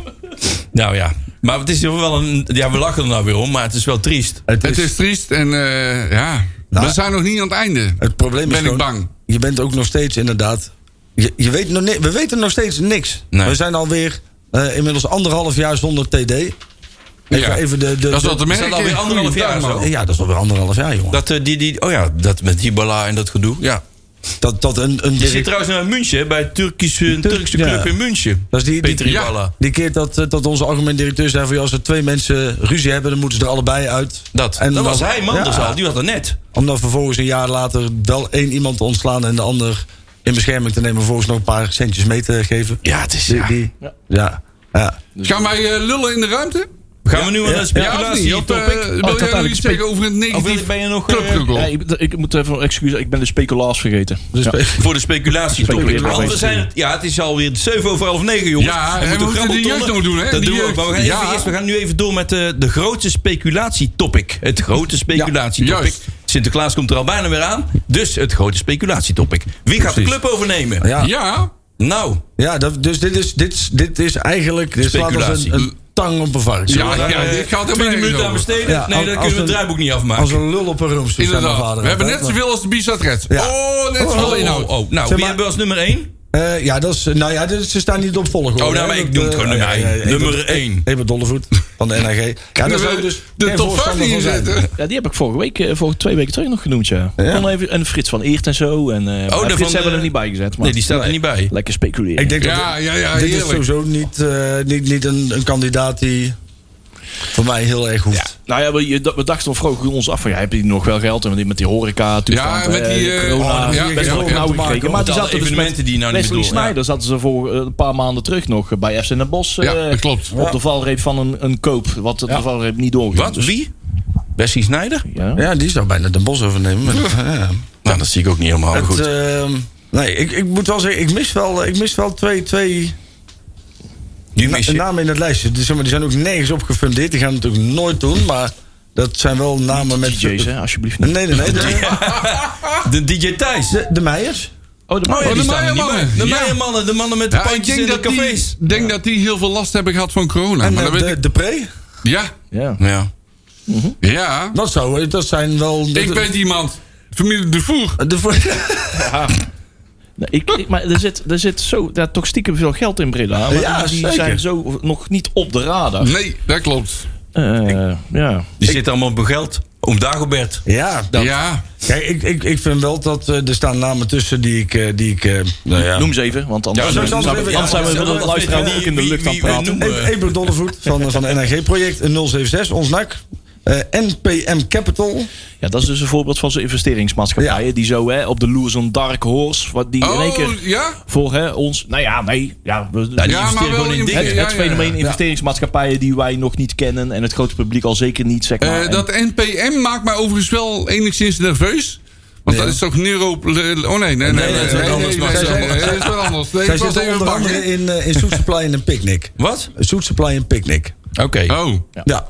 D: Nou ja. Maar het is wel een. Ja, we lachen er nou weer om, maar het is wel triest.
E: Het is triest en eh, ja, we zijn nog niet aan het einde.
F: Het probleem
E: Ben
F: is
E: ik
F: gewoon,
E: bang.
F: Je bent ook nog steeds inderdaad. Je, je weet nog ni- we weten nog steeds niks.
D: Nee.
F: We zijn alweer eh, inmiddels anderhalf jaar zonder TD. Even,
E: Ja.
F: even de, de,
E: Dat is wat te
F: de-
D: is
E: merken.
D: alweer
E: in
D: anderhalf
E: Goeie
D: jaar
E: dag, man.
D: zo.
F: Ja, dat is alweer anderhalf jaar, jongen. Dat,
D: Dat, eh, die, die, oh ja, dat met Hibala en dat gedoe. Ja.
F: dat, een, een
D: Je zit
F: direct-
D: trouwens naar München, hè, bij het Turkische, een Turkse
F: ja.
D: club in München.
F: Dat is die- die-
D: Peter
F: ja.
D: Hibala.
F: die keer dat, eh, dat onze algemeen directeur zei: van, ja, als er twee mensen ruzie hebben, dan moeten ze er allebei uit.
D: Dat, dat
F: dan-
D: was hij, man,
F: ja,
D: dat al. Die had dat net.
F: Om dan vervolgens een jaar later wel één iemand te ontslaan en de ander in bescherming te nemen. Vervolgens nog een paar centjes mee te geven.
D: Ja, het is...
F: Die, die- ja. Ja.
E: Gaan wij eh, lullen in de ruimte?
D: Gaan we nu aan de
E: of
D: speculatie?
E: niet?
D: Ja,
E: Of, eh, wil
B: had
E: jij nog
B: eigenlijk
E: iets zeggen over het
D: Of wil-
E: negatief
D: ben je nog... eh,
E: clubgevoel?
B: Ja, ik, ik moet even excuses, ik ben de speculaas vergeten. Dus Ja.
D: voor de speculatietopic.
B: Speculeren.
D: Want we zijn, ja, het is alweer 7 over half 9, jongens.
E: Ja,
D: We
E: en
D: moeten
E: we moeten
D: grabbeltonnen.
E: die jeugd nog doen, hè?
D: Dat
E: Die
D: doen we ook.
E: jeugd.
D: Maar we gaan, even
E: Ja.
D: eerst, we gaan nu even door met eh, de grote speculatietopic. Het grote
E: Ja,
D: speculatietopic.
E: juist.
D: Sinterklaas komt er al bijna weer aan. Dus het grote speculatietopic. Wie gaat de
F: Precies.
D: club overnemen?
F: Ja,
E: Ja,
D: Nou,
F: ja dat, dus dit is, dit, is- dit is eigenlijk. Dit slaat als
D: Speculatie.
F: een, een tang op een varken.
E: ja, ja,
D: eh,
E: dit gaat helemaal
D: 20
E: nergens
D: minuten aan
E: over.
D: besteden.
F: Ja,
D: nee, dan
F: als- als
D: kunnen we het
F: een-
D: draaiboek niet afmaken.
F: Als een lul op een roomstoel. zei mijn
E: Inderdaad.
F: vader
E: We hebben net
F: altijd, maar-
E: zoveel als de Bizat Reds.
F: Ja.
E: Oh, net
D: Oh,
E: zoveel
D: oh,
E: inhoud.
D: oh. Nou,
F: maar-
D: wie hebben we als nummer 1?
F: Eh, ja, dat is, nou ja, dit- ze staan niet op volgorde.
D: Oh, nou, maar
F: hè,
D: ik
F: dat,
D: noem het
F: eh,
D: gewoon
F: oh,
D: nummer
F: ja, ja, ja,
D: 1.
F: ik
D: Nummer
F: ben-
D: 1.
F: Eben Dollevoet van de NAG. Ja, daar
E: Kunnen
F: zou
E: we
F: dus
E: de
F: geen
E: top 5
F: voorstander
E: hier
F: van zijn.
E: zetten.
B: Ja, die heb ik vorige week, eh, vorige twee weken terug nog genoemd, ja.
F: Ja.
B: Kon even, en Frits van Eert en zo. En, eh, maar
D: daarvan
B: Frits hebben
D: de-
B: we er niet bij gezet. Maar
D: Nee, die staat er niet bij.
B: Lekker speculeren.
F: Ik denk
E: Ja,
F: dat
E: ja, ja,
F: dit is
E: heerlijk.
F: sowieso niet, eh, niet, niet een, een kandidaat die voor mij heel erg hoeft.
B: Nou ja, we, je- dat- we dachten al vroeg ons af van, ja, heb je nog wel geld? En met die- met die horeca, toestand,
E: Ja, met
B: eh,
E: die, eh,
B: corona,
E: oh, ja,
B: best
E: ja,
B: wel
E: ja,
B: nauw
E: te
F: maken,
B: gekeken. Maar
D: want
B: die
D: alle
B: zaten dus
D: evenementen
B: met
D: die nou niet
B: Wesley
D: door, ja.
B: Sneijder zaten ze voor eh, een paar maanden terug nog eh, bij FC Den Bosch. eh,
E: Ja, dat klopt.
B: Op de valreep van een, een koop, wat de valreep niet doorging. Dus,
D: Wat? Wie? Bessie Snijder?
B: Ja.
F: Ja, die zou bijna de bos overnemen. maar dat- ja.
D: Nou, dat zie ik ook niet helemaal
F: Het,
D: goed.
F: ehm, nee, ik, ik moet wel zeggen, ik mis wel, eh, ik mis wel twee, twee
D: Die
F: na-
D: mis je.
F: namen in het lijstje. Die, zeg maar, die zijn ook nergens op gefundeerd. Die gaan het natuurlijk nooit doen. Maar dat zijn wel namen met...
B: DJ's, hè, alsjeblieft
F: Nee,
B: niet.
F: nee, nee.
D: De
F: De,
D: DJ Thijs.
F: de, de Meijers.
B: Oh, de,
D: Oh ja,
E: Oh,
D: die
E: de
D: staan er niet
E: Meijermannen.
D: bij. De
E: Ja.
D: Meijermannen, de mannen met de
E: Ja, ik
D: pandjes in
E: denk,
D: de
E: dat
D: cafés.
E: die, denk dat die heel veel last hebben gehad van corona.
F: En
E: maar dat
F: eh,
E: weet
F: de,
E: ik.
F: de Pre.
E: Ja,
B: Ja.
D: Ja.
E: ja.
F: Dat, zou, eh, dat zijn wel...
E: Ik weet iemand. Familie De Voer.
F: De, voor-
B: Nee, Nou, ik, ik- maar er zit, er zit zo, daar toch stiekem veel geld in Breda. Maar
F: Ja,
B: die
F: zeker.
B: zijn zo nog niet op de radar.
E: Nee, dat klopt.
B: Eh, ja.
D: Die zitten allemaal op hun geld. Om Dagobert.
F: ja, dat-
E: Ja.
F: Kijk, ik, ik, ik vind wel dat eh, er staan namen tussen die ik... eh, die ik eh, nou ja.
B: Noem ze even, want anders,
D: Ja, zo- zo-
B: anders zijn we-
D: ja,
B: anders zijn we
D: zo-
B: met
D: zo-
B: een luisteraar
D: wie-
B: ook in de
D: wie-
B: lucht aan het
D: wie- wie
B: praten.
D: noemen we?
F: Eb- Ebert Dollevoet van, van de NRG-project 076, ons NAC. eh, NPM Capital.
B: Ja, dat is dus een voorbeeld van zo'n investeringsmaatschappijen.
F: Ja.
B: Die zo hè, op de loers een dark horse. Wat die in één
E: Oh,
B: keer
E: ja?
B: voor hè, ons. Nou ja, nee. Ja, we, die
E: maar wel
B: investeren gewoon in
E: in-
B: dingen. Het,
E: ja,
B: het
E: ja, ja.
B: fenomeen
E: Ja.
B: investeringsmaatschappijen die wij nog niet kennen. En het grote publiek al zeker niet. Zeg maar.
E: Eh,
B: En-
E: dat NPM maakt mij overigens wel enigszins nerveus. Want dat is toch neuro... Oh nee, nee, nee. Nee,
D: dat is wat anders,
E: nee,
D: maar
E: nee,
D: ze-
E: nee, nee, dat is wel anders. Nee,
F: Zij
E: ik was even
F: zitten onder
E: bang,
F: andere
E: hè?
F: in, eh, in Soet Supply en een Picnic.
D: Wat?
F: Soet Supply en Picnic.
D: Oké.
E: Oh,
F: Ja.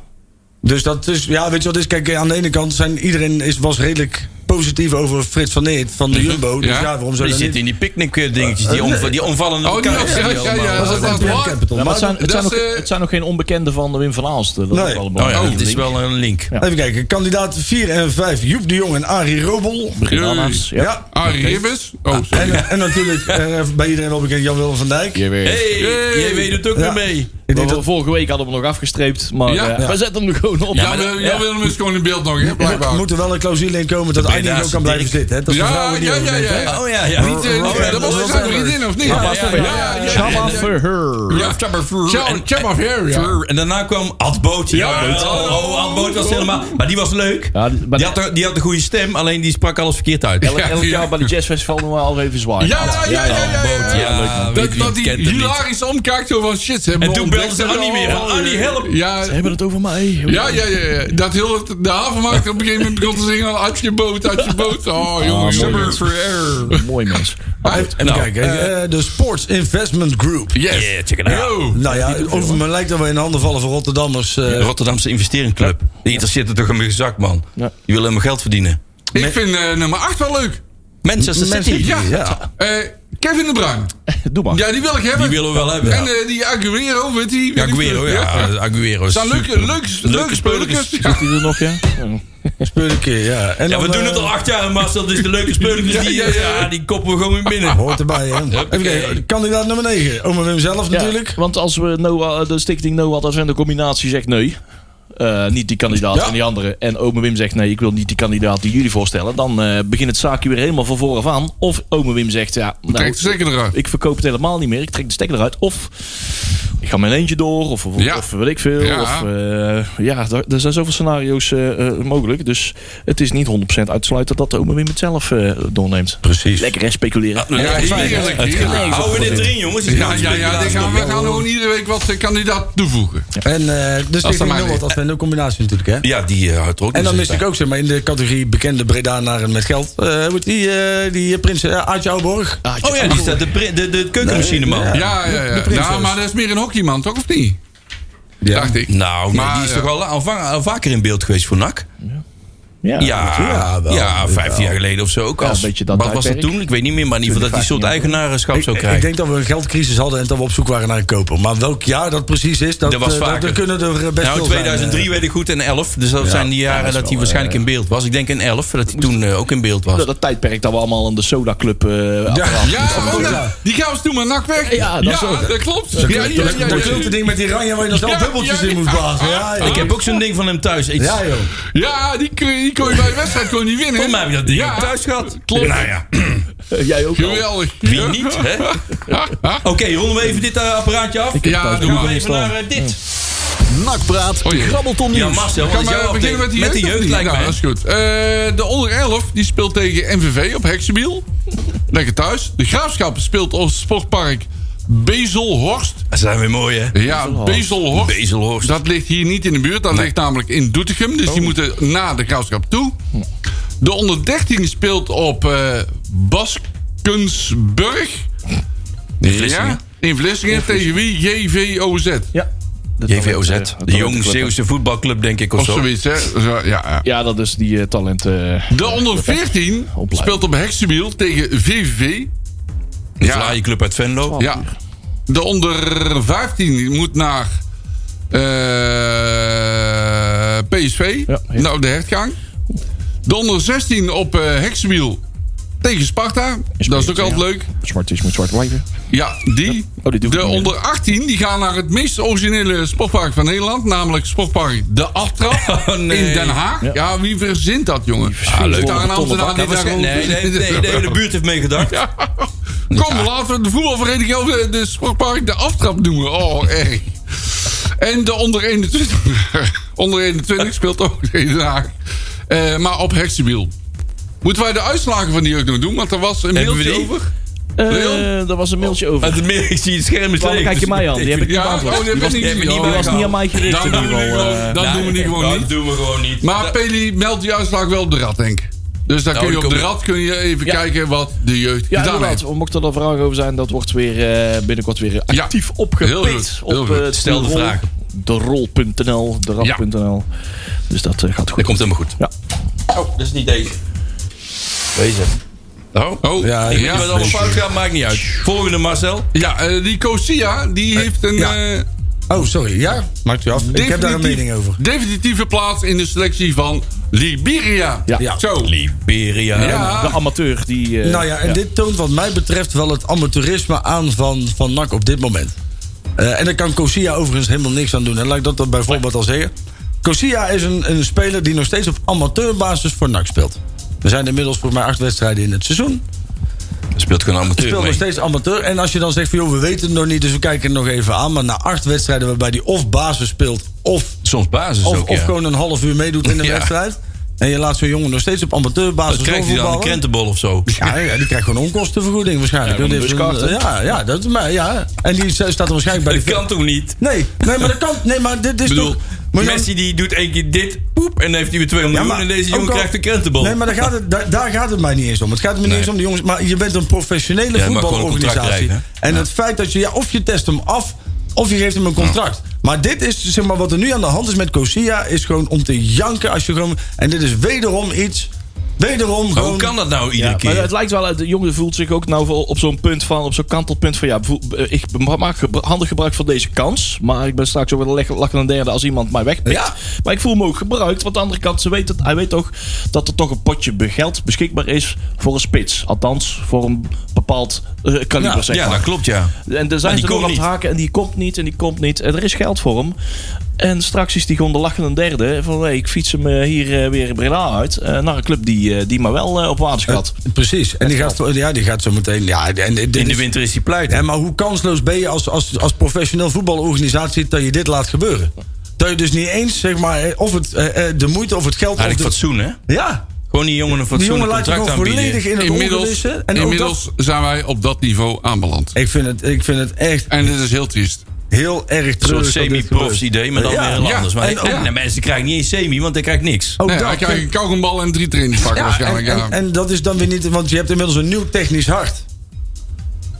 F: Dus dat is, ja, weet je wat het is? Kijk, eh, aan de ene kant zijn iedereen is, was redelijk positief over Frits van Neert van de Jumbo. Dus
E: Ja.
F: ja, waarom zou
D: Die
F: dat niet? Eh,
D: zitten in die picknick-dingetjes. Die, onv- die omvallende
E: oh die
D: elkaar.
E: ja, ja, ja, ja,
D: allemaal.
E: dat was
F: NPM
E: waar.
F: Capital.
B: Ja, maar
F: Maar
B: het, zijn, het,
E: dat
B: zijn
E: is,
B: nog,
E: eh,
B: het zijn nog geen onbekenden van de Wim van Aalsten. Dat is
F: Nee.
B: ook wel
D: Oh ja,
B: belangrijk.
D: het is wel een link.
B: Ja.
F: Even kijken, kandidaat 4 en 5, Joep de Jong en Arie Robel.
B: Begin aan Hans, ja.
F: Ja.
E: Arie Ribbes. Oh, sorry.
F: En, en natuurlijk eh, bij iedereen wel bekend Jan-Willem van Dijk.
D: Hey,
E: Hey.
D: jij weet het ook
F: Ja.
D: weer mee.
F: Ik
B: Wat
F: denk
B: we
F: dat,
B: vorige week hadden we nog afgestreept. Maar
E: Ja.
B: eh, we zetten hem er gewoon op.
E: Ja, maar Jan Willem is gewoon in beeld nog, hè,
F: er
E: blijkbaar.
F: moet er wel een clausule in komen dat
D: De
F: Arie ook kan blijven
D: Dirk.
F: zitten. Hè? Dat is de
E: Ja,
F: vrouwen die
E: ja, ja,
F: overneemt, hè?
E: ja.
D: Oh ja, ja.
E: Niet, eh, niet, eh, dat was zijn vriendin, of niet?
D: Ja, ja, ja,
E: ja, ja.
B: Shabba for her.
E: Ja. Tja- Tja- maar ver, ja.
D: En daarna kwam Adboot. Ja,
E: Ja,
D: Adboot. Oh, oh, Adboot was helemaal... Maar die was leuk.
B: Ja, die- maar
D: die, had, een- die had een goede stem, alleen die sprak alles verkeerd uit.
B: Elk, elk
E: Ja.
B: jaar bij de jazzfestival doen we al even zwaaien.
E: Ja, ja, ja, ja, ja, ja,
D: Adboot, ja.
E: ja.
D: Wie-
E: Dat,
D: wie
E: dat die
D: kent hem niet?
E: hilarisch omkijkt zo van shit. ze hebben
D: En toen
E: ontdekt
D: belde ze
E: dat we
D: Annie weer.
E: al-
D: Annie, help.
E: Ja,
B: Ze hebben het over mij.
E: ja, ja, ja. ja. Dat heel het, de havenmarkt op een gegeven moment begon te zingen. Uit je boot, uit je boot. Oh,
D: Ah,
E: jongen. Summer forever.
B: Mooi mens.
F: Even kijken, eh, de Sports Investment Group.
E: Yes.
D: Yeah, check it out.
E: Yo.
F: Nou ja, over me lijkt dat we in de handen vallen van Rotterdammers. eh,
D: De Dus, Rotterdamse investeringsclub. Die interesseert het toch een zak, man. Die
B: Ja.
D: willen helemaal geld verdienen.
E: Ik vind eh, nummer 8 wel leuk.
D: Manchester City.
E: Ja.
F: ja.
E: Eh, Kevin de Bruin.
B: Doe maar.
E: Ja, die wil ik hebben.
D: Die willen we wel hebben.
E: En eh, die Aguero, weet die?
D: Ja, Aguero, ja. Aguero is
E: Zijn leuke,
D: super.
E: leuke, leuke spelers.
D: spelers.
E: Ja,
B: Is die er nog, ja? Ja.
F: Speel een keer, ja. En
D: Ja, we
F: dan,
D: doen
F: eh,
D: het al acht jaar, Marcel. Dit is de leuke spelers.
E: Ja,
D: Die,
E: ja, ja.
D: ja, die koppen we gewoon weer binnen.
F: Hoort erbij, hè. Even kijken, kandidaat nummer 9. Oma Wim zelf natuurlijk.
B: Want als we Noah, eh, de stichting Noah Advent de combinatie zegt nee... eh, niet die kandidaat
F: Ja.
B: en die andere. En ome Wim zegt nee, ik wil niet die kandidaat die jullie voorstellen. Dan eh, begint het zaakje weer helemaal van vooraf aan. Of ome Wim zegt ja, nou,
E: Trek de stekker eruit.
B: ik verkoop het helemaal niet meer. Ik trek de stekker eruit. Of ik ga mijn eentje door. Of, of,
E: Ja.
B: of weet ik veel.
E: Ja.
B: Of, eh, ja, daar- er zijn zoveel scenario's eh, eh, mogelijk. Dus het is niet 100% uitsluiten dat de oma Wim het zelf eh, doorneemt.
D: Precies.
B: Lekker hè, speculeren.
E: Ja, heerlijk. heerlijk.
D: Houden we dit erin, jongens? Die
E: Ja,
D: gaan
E: ja, ja,
D: we
E: dit gaan we gaan gewoon iedere week wat eh, kandidaat toevoegen.
F: En eh, dus
E: dat
F: ik
E: maar
F: vind
E: weer.
F: wat dat zijn de combinatie natuurlijk, hè?
D: Ja, die eh, houdt er ook
F: En
D: nog
F: dan
E: Dus,
D: steeds
F: miste ik
D: bij.
F: ook, zeg maar, in de categorie bekende Bredanaren met geld. eh, wordt die, eh, die prins eh, Aartje Ouwborg.
D: Oh ja, die staat de, pri- de, de keukenmachine man.
E: Ja, ja, ja.
F: prinses.
E: Nou, maar dat is meer een hockeyman, toch? Of niet? Dacht ik.
D: Nou, maar,
E: Maar, eh,
D: die is
E: ja.
D: toch al, al, va- al vaker in beeld geweest voor NAC?
B: Ja.
D: Ja, ja,
F: wel.
D: 15 jaar geleden of zo ook.
B: Ja,
D: als,
B: een beetje dat
D: wat was dat
B: tijdperk.
D: toen? Ik weet niet meer, maar in ieder geval dat die soort
B: 15
D: eigenaarschap
F: Ik,
D: zou
F: ik
D: krijgen.
F: denk dat we een geldcrisis hadden en dat we op zoek waren naar een koper. Maar welk jaar dat precies is, dat,
D: Dat was
F: eh, dat,
D: vaker.
F: er kunnen er best
D: Nou,
F: veel
D: 2003
F: zijn. eh.
D: weet ik goed en 11. Dus dat zijn die jaren dat hij waarschijnlijk in beeld was. Ik denk in 11, dat hij toen eh, ook in beeld was.
B: Dat, dat tijdperk dat we allemaal aan de Soda Club eh
F: Ja,
E: Ja, oh, nou, die gaan we toen maar nak weg.
B: Ja, dat is ook.
E: klopt. Ja, ja, ja, ja,
F: Dat klote ding met die ranje waar je nog
E: Ja,
F: wel bubbeltjes
E: ja,
F: in moet
E: ja.
F: blazen. Ja, joh.
D: ik heb ook zo'n ding van hem thuis. Iets,
F: Ja, joh.
E: Ja, die, kon- die kon je bij de wedstrijd gewoon niet winnen.
D: Voor mij heb je dat ding
E: Ja.
D: thuis gehad.
E: Klopt.
D: Nou ja,
B: Jij ook al.
E: Geweldig.
D: wie niet, hè? Oké, ronden we even dit eh, apparaatje af.
E: Ja, doe
D: Gaan we
E: maar.
D: even naar eh, dit.
C: Nakpraat,
E: Oh, jee.
C: grabbelton
D: Ja,
C: nieuws.
D: Marcel, wat
E: Gaan
D: is jouw
E: we beginnen met
D: update?
E: die jeugd?
D: Met de
E: of
D: jeugd
E: niet?
D: lijkt
E: Nou,
D: mij.
E: dat is goed. Eh, de onder 11 die speelt tegen MVV op Heksenbiel. Lekker thuis. De Graafschap speelt op Sportpark Bezelhorst.
D: Dat zijn weer mooi, hè?
E: Ja, Bezelhorst.
D: Bezelhorst.
E: Dat ligt hier niet in de buurt. Dat ligt namelijk in Doetinchem. Dus die moeten naar de Graafschap toe. De onder 13 speelt op eh, Baskensburg. Ja,
D: Vlissingen.
E: in Vlissingen. Tegen wie? JVOZ.
B: Ja. Dat
D: JVOZ.
B: talent, eh,
D: De jong
B: talentclub.
D: Zeeuwse voetbalclub, denk ik, of
E: Of
D: zo.
E: zoiets, hè? Zo, ja, ja.
B: Ja, dat is die eh, talent. eh,
E: De onder 14
B: Opleiding.
E: speelt op Heksenwiel tegen VVV.
D: De
E: Ja.
D: Vlaaienclub club uit Venlo.
E: Ja. De onder 15 moet naar eh, PSV.
B: Ja, ja.
E: Nou, de hertgang. De onder 16 op eh Heksenwiel tegen Sparta. Dat is ook
B: ja.
E: altijd leuk.
B: Zwart is moet zwart blijven.
E: Ja, die.
B: Oh, die doe ik
E: de
B: niet meer.
E: onder 18 die gaan naar het meest originele sportpark van Nederland. Namelijk sportpark De Aftrap
D: nee.
E: in Den Haag. Ja. wie verzint dat, jongen? Ah,
B: leuk.
E: Daar een ambtenaar
D: Nou,
E: die daar
D: waarschijnlijk- nee, nee, nee, de hele buurt heeft meegedacht.
E: Kom, laten we de voetbalvereniging of de, de sportpark de aftrap noemen. Oh, erg. En de onder 21, onder 21 speelt ook in Den Haag. Eh, maar op Heksenwiel. Moeten wij de uitslagen van die ook nog doen? Want er was een
D: Hebben we
E: mailtje
D: die?
E: over.
B: Eh,
E: Leon?
B: daar was een mailtje over.
D: Uit het meer, ik zie het scherm is
B: Waarom
D: leeg.
B: kijk je mij aan? Die heb ik niet
E: Ja, oh,
B: beantwoord.
E: die heb ik niet
D: die
E: gezien.
D: heb ik
E: Oh,
B: Die was
D: aan.
B: niet aan mij gericht
E: Dat
B: in
E: doen we
B: ieder
E: niet
B: geval. eh.
E: gewoon. Dat doen we niet gewoon
D: Dat
E: niet.
D: doen we gewoon niet.
E: Maar Peli meldt die uitslag wel op de rad, denk ik. Dus daar
D: Nou,
E: kun je
D: die
E: op de
D: komen-
E: rad kun je even
B: Ja.
E: kijken wat de jeugd
B: Ja,
E: gedaan heeft.
B: inderdaad. Mocht er dan vragen over zijn, dat wordt weer eh, binnenkort weer actief
E: Heel goed,
B: opgepikt.
E: heel
B: Op
E: goed.
B: eh,
D: Stel de
B: rol-
D: vraag.
B: De rol.nl, de rap.nl. Dus dat eh, gaat goed.
D: Dat komt helemaal goed.
B: Ja.
D: Oh, dat is niet deze. Deze. Oh, oh.
E: ja,
D: Ik weet
E: ja.
D: niet wat allemaal fout gaat, maakt niet uit. Volgende Marcel.
E: Ja, eh, die Cosia, die heeft een... eh,
F: Oh, sorry. Ja, maakt u af. Ik heb daar een
E: Definitief-
F: mening over.
E: Definitieve plaats in de selectie van Liberia.
B: Ja.
E: Zo.
D: Liberia.
E: Ja.
B: De amateur die... eh,
F: Nou ja, en dit toont wat mij betreft wel het amateurisme aan van, van NAC op dit moment. Eh, en daar kan Cosia overigens helemaal niks aan doen. En laat ik dat dan bijvoorbeeld al zeggen. Cosia is een, een speler die nog steeds op amateurbasis voor NAC speelt. Er zijn inmiddels volgens mij acht wedstrijden in het seizoen.
D: Speelt gewoon amateur
F: Speelt
D: mee.
F: nog steeds amateur. En als je dan zegt van joh, we weten het nog niet, dus we kijken het nog even aan. Maar na acht wedstrijden waarbij die of basis speelt of
D: Soms basis
F: of,
D: ook,
F: of
D: ja.
F: gewoon een half uur meedoet in de
D: Ja.
F: wedstrijd. En je laat zo'n jongen nog steeds op amateurbasis
D: Dat krijgt hij dan een
F: doorvoetballen.
D: krentenbol of zo.
F: Ja, ja, die krijgt gewoon onkostenvergoeding waarschijnlijk.
B: Ja,
F: Ja,
B: gewoon een buskaart,
F: ja, eh, ja, dat, maar, ja, en die staat er waarschijnlijk bij
D: Dat
F: de...
D: kan toch niet?
F: Nee, nee, maar dat kan... Nee, maar dit is
D: Ik bedoel,
F: toch... maar dan-
D: Messi die doet één keer dit, poep, en dan heeft hij weer 2 miljoen.
F: Ja, maar
D: en deze
F: ook
D: jongen
F: al-
D: krijgt een krentenbol.
F: Nee, maar daar gaat, het, daar, daar gaat het mij niet eens om. Het gaat me niet eens om de jongens. Maar je bent een
D: Ja,
F: professionele
D: maar gewoon een
F: voetbalorganisatie.
D: contract krijgen,
F: en het feit dat je... Ja, of je test hem af, of je geeft hem een contract. Maar dit is, zeg maar, wat er nu aan de hand is met Cosia... is gewoon om te janken als je gewoon... En dit is wederom iets... Wederom
D: Maar
F: gewoon...
D: Hoe kan dat nou iedere
B: Ja,
D: keer?
B: maar het lijkt wel, de jongen voelt zich ook nou wel op zo'n punt van, op zo'n kantelpunt van ja, voel- eh, ik maak gebru- handig gebruik van deze kans, maar ik ben straks ook wel lek- lakken een derde als iemand mij wegpikt.
F: Ja.
B: Maar ik voel me ook gebruikt, want aan de andere kant, ze weet het, hij weet toch dat er toch een potje be- geld beschikbaar is voor een spits. Althans, voor een bepaald eh, kaliber, zeg
D: ja,
B: maar.
D: dat klopt, ja.
B: En daar zijn
D: die
B: ze nog
D: komt
B: aan het
D: niet.
B: haken en die komt niet en die komt niet. En er is geld voor hem. En straks is die gewoon de lachende derde. Van hey, ik fiets hem eh, hier eh, weer Breda uit. eh, naar een club die, eh, die maar wel eh, op waarde gaat.
F: Precies. En die gaat, ja, die gaat zo meteen. Ja, en, dit
D: In de
F: is-
D: winter is hij pleit.
F: Ja, maar hoe kansloos ben je als, als, als professioneel voetbalorganisatie dat je dit laat gebeuren? Dat je dus niet eens, zeg maar, eh, of het, eh, eh, de moeite of het geld. Of
D: Eigenlijk
F: de,
D: fatsoen, hè?
F: ja,
D: Gewoon die jongen een
F: die
D: fatsoenlijk
F: jongen laat je
D: contract
F: gewoon
D: aanbieden.
F: volledig in het
E: Inmiddels,
F: ongewisse. En ook
E: inmiddels zijn wij op dat niveau aanbeland.
F: dat- ik, vind het, ik vind het echt
E: En dit is heel triest.
F: heel erg
D: Een soort
F: treurig dat dit
D: semi-profs
F: gebeurt.
D: idee, maar dan
F: Ja.
D: weer heel
E: Ja.
D: anders. Maar
F: En ook-
D: en de mensen krijgen niet eens semi, want hij krijgt niks.
F: Ook
E: Nee,
F: dat
E: hij krijgt een
F: vind-
E: kauwgombal en drie trainingspakken
F: ja, en,
E: waarschijnlijk. ja.
F: en, en dat is dan weer niet, want je hebt inmiddels een nieuw technisch hart.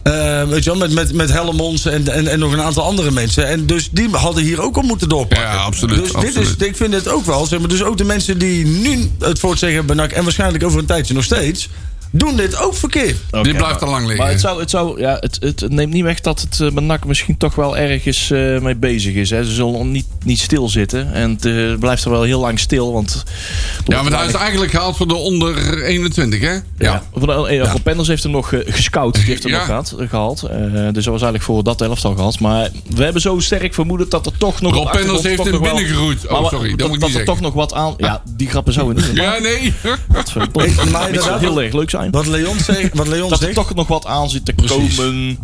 F: Eh, weet je wel, met, met, met Helmons en, en, en nog een aantal andere mensen. En dus die hadden hier ook al moeten doorpakken.
E: Ja, absoluut,
F: Dus dit
E: absoluut.
F: is, ik vind het ook wel. Zeg maar, dus ook de mensen die nu het voor het zeggen hebben, NAC, en waarschijnlijk over een tijdje nog steeds, doen dit ook verkeerd.
B: Oké,
E: Dit blijft
B: maar-
E: al lang liggen.
B: Maar het, zou, het, zou, ja, het, het neemt niet weg dat het eh, bij NAC misschien toch wel ergens eh, mee bezig is. Hè. Ze zullen niet, niet stilzitten. En het eh, blijft er wel heel lang stil. Want
E: ja, want hij is eigenlijk gehaald voor de onder 21, hè? Ja.
B: Ja. Van, eh, Van Penders heeft hem nog eh, gescout. Die heeft hem
E: Ja.
B: nog gehad, gehaald. Eh, dus dat was eigenlijk voor dat elftal gehad. Maar we hebben zo sterk vermoeden dat er toch nog...
E: Rob
B: op de
E: Penders
B: achtergrond
E: heeft
B: toch
E: hem
B: nog wel-
E: binnengeroet. Oh,
B: Maar wa-
E: sorry, dat
B: Dat,
E: moet ik
B: dat
E: niet
B: er toch
E: zeggen.
B: nog wat aan... Ja, die grappen zo in.
E: Ja, nee.
B: Godverdomme.
F: maar
B: Dat zou
F: inderdaad-
B: heel erg leuk zijn.
F: Wat Leon zegt. Wat Leon
B: Dat er
F: zegt
B: toch nog wat aan zit te
F: Precies.
B: komen.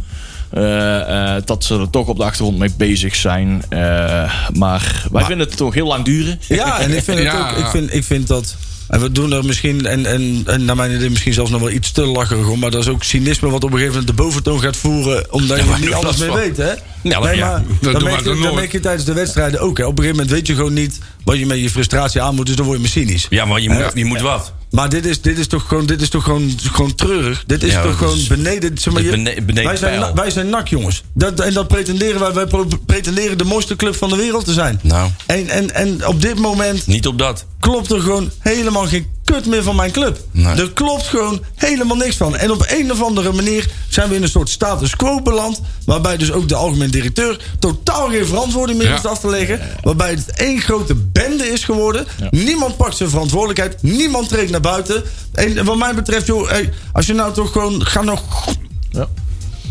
B: Eh, eh, dat ze er toch op de achtergrond mee bezig zijn. Eh, maar wij vinden het toch heel lang duren.
F: Ja, en ik vind, het
E: Ja,
F: ook,
E: ja.
F: ik vind, ik vind dat. En we doen er misschien, en, en, en naar mijn idee misschien zelfs nog wel iets te lacherig om. Maar dat is ook cynisme wat op een gegeven moment de boventoon gaat voeren. Omdat je
D: maar
F: er niet
D: doe
F: alles
D: dat wel.
F: mee weet, hè?
D: Ja, maar ja,
E: doen
D: dat
E: wij
F: dan, merk je,
E: toch
F: dan
E: nooit.
F: merk je tijdens de wedstrijden ook. Hè. Op een gegeven moment weet je gewoon niet wat je met je frustratie aan moet. Dus dan word je me cynisch.
D: Ja, maar je moet, je moet wat.
F: Maar dit is, dit is toch gewoon, dit is toch gewoon, gewoon treurig. Dit is
D: Ja,
F: toch
D: dit
F: gewoon
D: is-
F: beneden. Zeg maar,
D: dit
F: je-
D: bene- beneden
F: wij, zijn,
D: peil.
F: na- wij zijn nak, jongens. Dat, en dat pretenderen wij. Wij pro- pretenderen de mooiste club van de wereld te zijn.
D: Nou.
F: En, en, en op dit moment
D: Niet op dat.
F: klopt er gewoon helemaal geen kut meer van mijn club.
D: Nee.
F: Er klopt gewoon helemaal niks van. En op een of andere manier zijn we in een soort status quo beland. Waarbij dus ook de algemeen directeur totaal geen verantwoording meer
E: Ja.
F: heeft af te leggen. Waarbij het één grote bende is geworden. Niemand pakt zijn verantwoordelijkheid. Niemand treedt naar buiten. En wat mij betreft, joh, hey, als je nou toch gewoon. Ga nog.
B: Ja.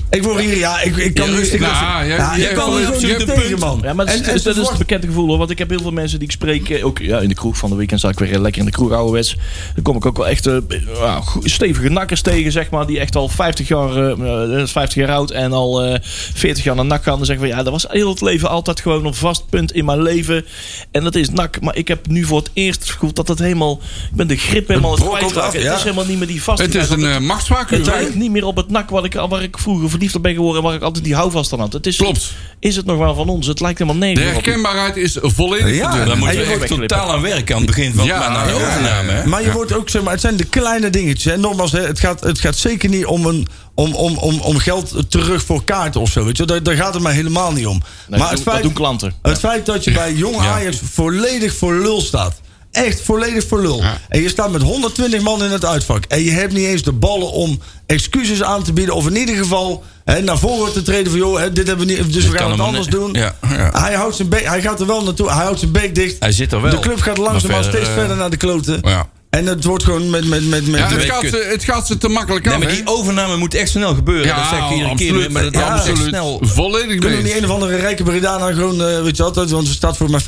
F: Ik word hier, ja, ik, ik kan
D: Ja,
F: nu
D: rustig,
F: rustig.
E: rustig. Nou, jij- jij
F: je kan
E: hebt
F: er
E: gewoon
F: gewoon niet
E: absoluut een
F: tegen,
E: punt.
F: man.
B: Ja, maar dat is,
F: En- en
B: dat is
F: ze
B: het bekende gevoel hoor. Want ik heb heel veel mensen die ik spreek. eh, Ook ja, in de kroeg van de weekend zat ik weer eh, lekker in de kroeg ouderwets. Dan kom ik ook wel echt eh, ja, go- stevige nakkers tegen, zeg maar. Die echt al 50 jaar, eh, eh, 50 jaar oud en al eh 40 jaar naar nak gaan. Dan zeggen van ja, dat was heel het leven altijd gewoon een vast punt in mijn leven. En dat is nak. Maar ik heb nu voor het eerst gevoeld dat dat helemaal. Ik ben de grip helemaal
F: brokkelt
B: kwijtgeraakt.
F: af,
B: Het
F: ja.
B: is helemaal niet meer die vast.
E: Het is een eh
B: Het
E: machtswaakhumor,
B: lijkt niet meer op het nak waar ik, waar ik vroeger verliefd op ben geworden. En waar ik altijd die houvast aan had. Het is,
E: Klopt.
B: Is het nog wel van ons? Het lijkt helemaal
E: De
B: nergens op.
E: herkenbaarheid is volledig
F: Ja,
E: verdund.
D: Daar moeten
B: je
D: we
B: wordt
D: echt
B: wegknippen.
D: totaal aan werken aan het begin van
E: Ja,
D: maar na de
E: ja, ja, ja.
D: overname. hè.
F: Maar je wordt ook, zeg maar, het zijn de kleine dingetjes. En nogmaals, hè, het gaat, het gaat zeker niet om, een, om, om, om, om geld terug voor kaarten of zo. Weet je? wel. Daar, daar gaat het mij helemaal niet om.
B: Nee,
F: maar het
B: dat, doen, dat
F: feit,
B: doen klanten.
F: het feit dat je bij jong Ajax volledig voor lul staat. Echt volledig voor lul.
E: Ja.
F: En je staat met 120 man in het uitvak. En je hebt niet eens de ballen om excuses aan te bieden. Of in ieder geval hè, naar voren te treden van... joh, hè, dit hebben we niet, dus we
D: kan
F: gaan het
D: hem
F: anders
D: niet-
F: doen.
D: Ja, ja.
F: Hij, houdt zijn bek, hij gaat er wel naartoe. Hij houdt zijn bek dicht.
D: Hij zit er wel.
F: De club gaat
D: Maar
F: langzamerhand
D: verder,
F: steeds
D: eh,
F: verder naar de kloten.
D: Ja.
F: En het wordt gewoon met... met, met, met
E: Ja, het,
D: weet
E: gaat
D: ik.
E: ze, het gaat ze te makkelijk
D: Nee,
E: af,
D: maar
E: hè?
D: die overname moet echt snel gebeuren.
E: ja,
D: dat zeg ik iedere
E: absoluut.
D: keer. Maar dat
E: ja,
D: is echt
E: absoluut.
D: snel.
E: Volledig mee
F: kunnen we
E: eens.
F: niet een of andere rijke Bredana gewoon, eh, weet je altijd, want er staat voor mij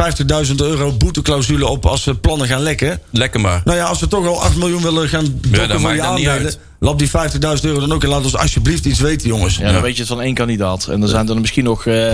F: 50.000 euro boeteclausule op als ze plannen gaan lekken.
D: Lekker maar.
F: Nou ja, als we toch al 8 miljoen willen gaan dokken
D: dat
F: voor
D: maakt
F: die
D: dan niet
F: aandelen,
D: uit.
F: lap die 50.000 euro dan ook en laat ons alsjeblieft iets weten, jongens.
B: Ja, dan weet je het van één kandidaat. En er zijn er misschien nog eh,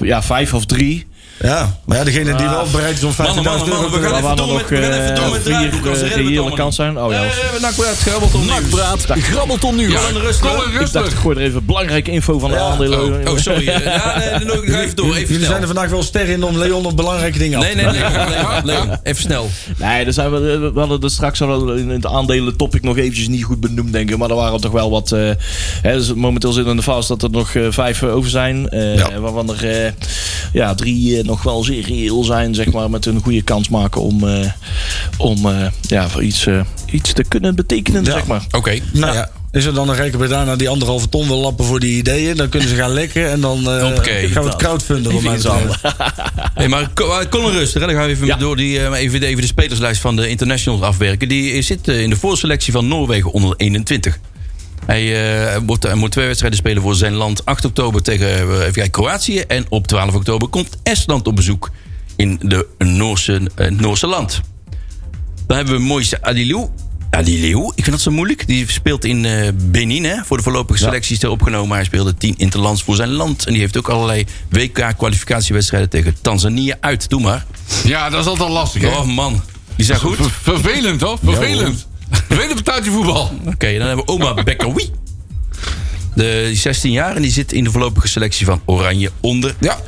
B: ja, vijf of drie.
F: Ja, maar ja, degene die wel bereid is om 50.000
D: Ah. Mannen, mannen,
F: euro
D: mannen, we
F: te
D: gaan
B: Waar
D: even
B: waren
D: door
B: er
D: met,
B: nog
D: we gaan even door
B: eh
D: met
B: vier
D: draaiboek. anders
B: eh,
D: redden
B: die
D: we het
B: hier aan de
D: allemaal
B: kant zijn? Oh ja.
D: niet. Eh, we hebben nakpraat, grabbelt om nieuws.
C: Nakpraat grabbelt onnieuws.
D: Colin Rusten.
E: Colin
B: Ik dacht, ik
E: Rusten.
B: gooi er even belangrijke info van de aandelen.
D: Oh, oh, sorry. Ja, nee, nee, nee, ga even door. Even
F: Jullie
D: snel.
F: zijn er vandaag wel sterren in om Leon op belangrijke dingen af te
D: Nee, nee, nee. Leon, Leon, Even snel.
B: Nee, daar zijn we, we hadden er straks al in het aandelen topic nog eventjes niet goed benoemd, denk ik. Maar er waren toch wel wat. eh, hè, dus momenteel zit in de fase dat er nog eh, vijf eh, over zijn. eh, Waarvan er eh, ja, drie eh, nog wel zeer reëel zijn, zeg maar. Met een goede kans maken om, eh, om eh, ja, voor iets, eh, iets te kunnen betekenen, zeg maar.
D: Oké.
F: Nou ja. Is er dan een rijke Bredana die anderhalve ton wil lappen voor die ideeën? Dan kunnen ze gaan lekken en dan eh,
D: Hoppakee.
F: gaan we het crowdfunden. wat mij betreft.
D: Hey, maar Co- eh, Colin Rusten, hè, dan gaan we even
B: Ja.
D: door die, eh, even, even de spelerslijst van de internationals afwerken. Die zit eh, in de voorselectie van Noorwegen onder 21. Hij, eh, wordt, hij moet twee wedstrijden spelen voor zijn land. 8 oktober tegen eh, even kijken, Kroatië. En op 12 oktober komt Estland op bezoek. in de Noorse, eh, het Noorse land. Dan hebben we Moise Adilou. Adilou, ik vind dat zo moeilijk. Die speelt in eh, Benin, hè, voor de voorlopige selecties is hij opgenomen. Hij speelde 10 interlands voor zijn land. En die heeft ook allerlei WK-kwalificatiewedstrijden tegen Tanzania uit. Doe maar.
E: Ja, dat is altijd lastig, hè?
D: Oh man, die zijn goed.
E: Ver- vervelend, hoor. Vervelend. Vervelend betaaldje voetbal.
D: Oké, dan hebben we oma Bekkawi. De die is 16 jaar en die zit in de voorlopige selectie van Oranje onder.
F: Ja.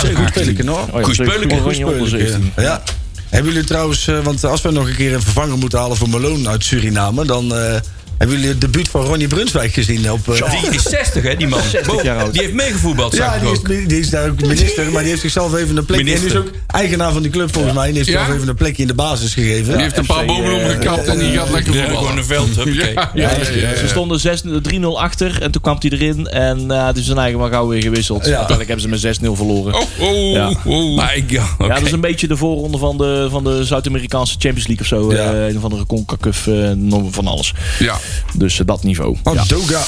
D: Zeker.
F: goed spelen, hoor.
B: Oh ja,
D: Koes
B: zeker.
D: Peulenke,
B: Oranje
F: Goed
B: onder
F: spelen,
B: 17.
F: ja. Ja. Hebben jullie trouwens, eh, want als we nog een keer een vervanger moeten halen voor Malone uit Suriname, dan eh, hebben jullie het debuut van Ronnie Brunswijk gezien op. eh,
D: Die is 60, hè, die man. Wow,
B: jaar oud.
D: Die heeft meegevoetbald, zag
F: ja,
D: ik
F: die
D: ook.
F: is, die is daar ook minister, maar die heeft zichzelf even een plekje.
D: Minister.
F: En die is ook eigenaar van die club volgens mij. En die heeft
E: Ja?
F: zichzelf even een plekje in de basis gegeven.
E: Die heeft een paar
B: FC,
E: bomen
B: eh,
E: omgekapt en die gaat lekker
D: Ja, gewoon
E: voetballen.
D: een veld,
E: Ja,
D: huppakee.
E: ja, ja, ja,
B: Ze stonden 6 3-0 achter en toen kwam hij erin. En eh, het is zijn eigen maar gauw weer gewisseld.
F: Ja.
B: Uiteindelijk hebben ze met 6-0 verloren.
E: Oh, oh,
B: Ja.
E: oh.
D: My god, oké.
B: Ja, dat is een beetje de voorronde van de, van de Zuid-Amerikaanse Champions League of zo.
F: Ja.
B: Eh, een of andere CONCACAF, eh, noem van alles.
E: Ja.
B: Dus eh, dat niveau.
F: Oh,
B: Ja.
F: Doga.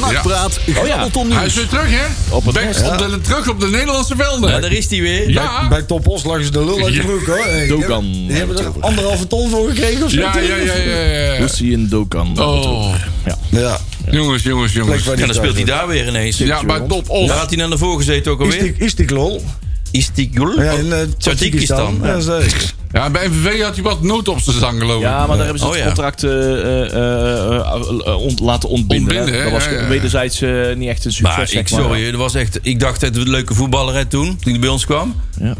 C: Nakpraat,
B: ja.
C: Grabbelton
E: Hij is
C: nieuws.
E: weer terug, hè?
B: Op het
E: Back
B: nest.
E: op de, terug op de Nederlandse velden.
D: Ja, daar is die weer.
E: Ja.
F: Bij Top Os lagen ze de lul uit de
E: Ja.
F: broek, hoor. Hey,
B: Dogan.
F: Die hebben er anderhalve ton voor gekregen of zo.
E: Ja, ja, ja, ja, ja, ja.
B: Lucy in Dokan.
E: Oh,
F: Ja,
E: jongens, jongens,
F: plek
E: jongens.
F: waar die
D: Ja, dan speelt hij
F: thuis
D: daar weer ineens.
E: Ja, maar top
D: Daar
E: of.
D: had hij naar de voor gezeten ook
F: hoort. Is
D: alweer. Oh,
F: die- Is die lol?
D: Is die
F: Ja, in eh,
D: Tajikistan.
F: Tajikistan. Ja, dat is, eh,
E: Ja, bij MVV had hij wat nood op zijn zang gelopen.
B: Ja, maar daar hebben ze
D: Oh,
B: het
D: ja.
B: contract eh, eh, eh, eh, eh, ont- laten ontbinden.
E: Ontbinden,
B: hè.
E: hè?
B: dat was
E: Ja, ja, ja.
B: wederzijds eh, niet echt een succes.
D: Maar ik,
B: zeg maar.
D: sorry, dat was echt, ik dacht het was een leuke voetballer hè, toen, toen hij bij ons kwam.
B: Ja.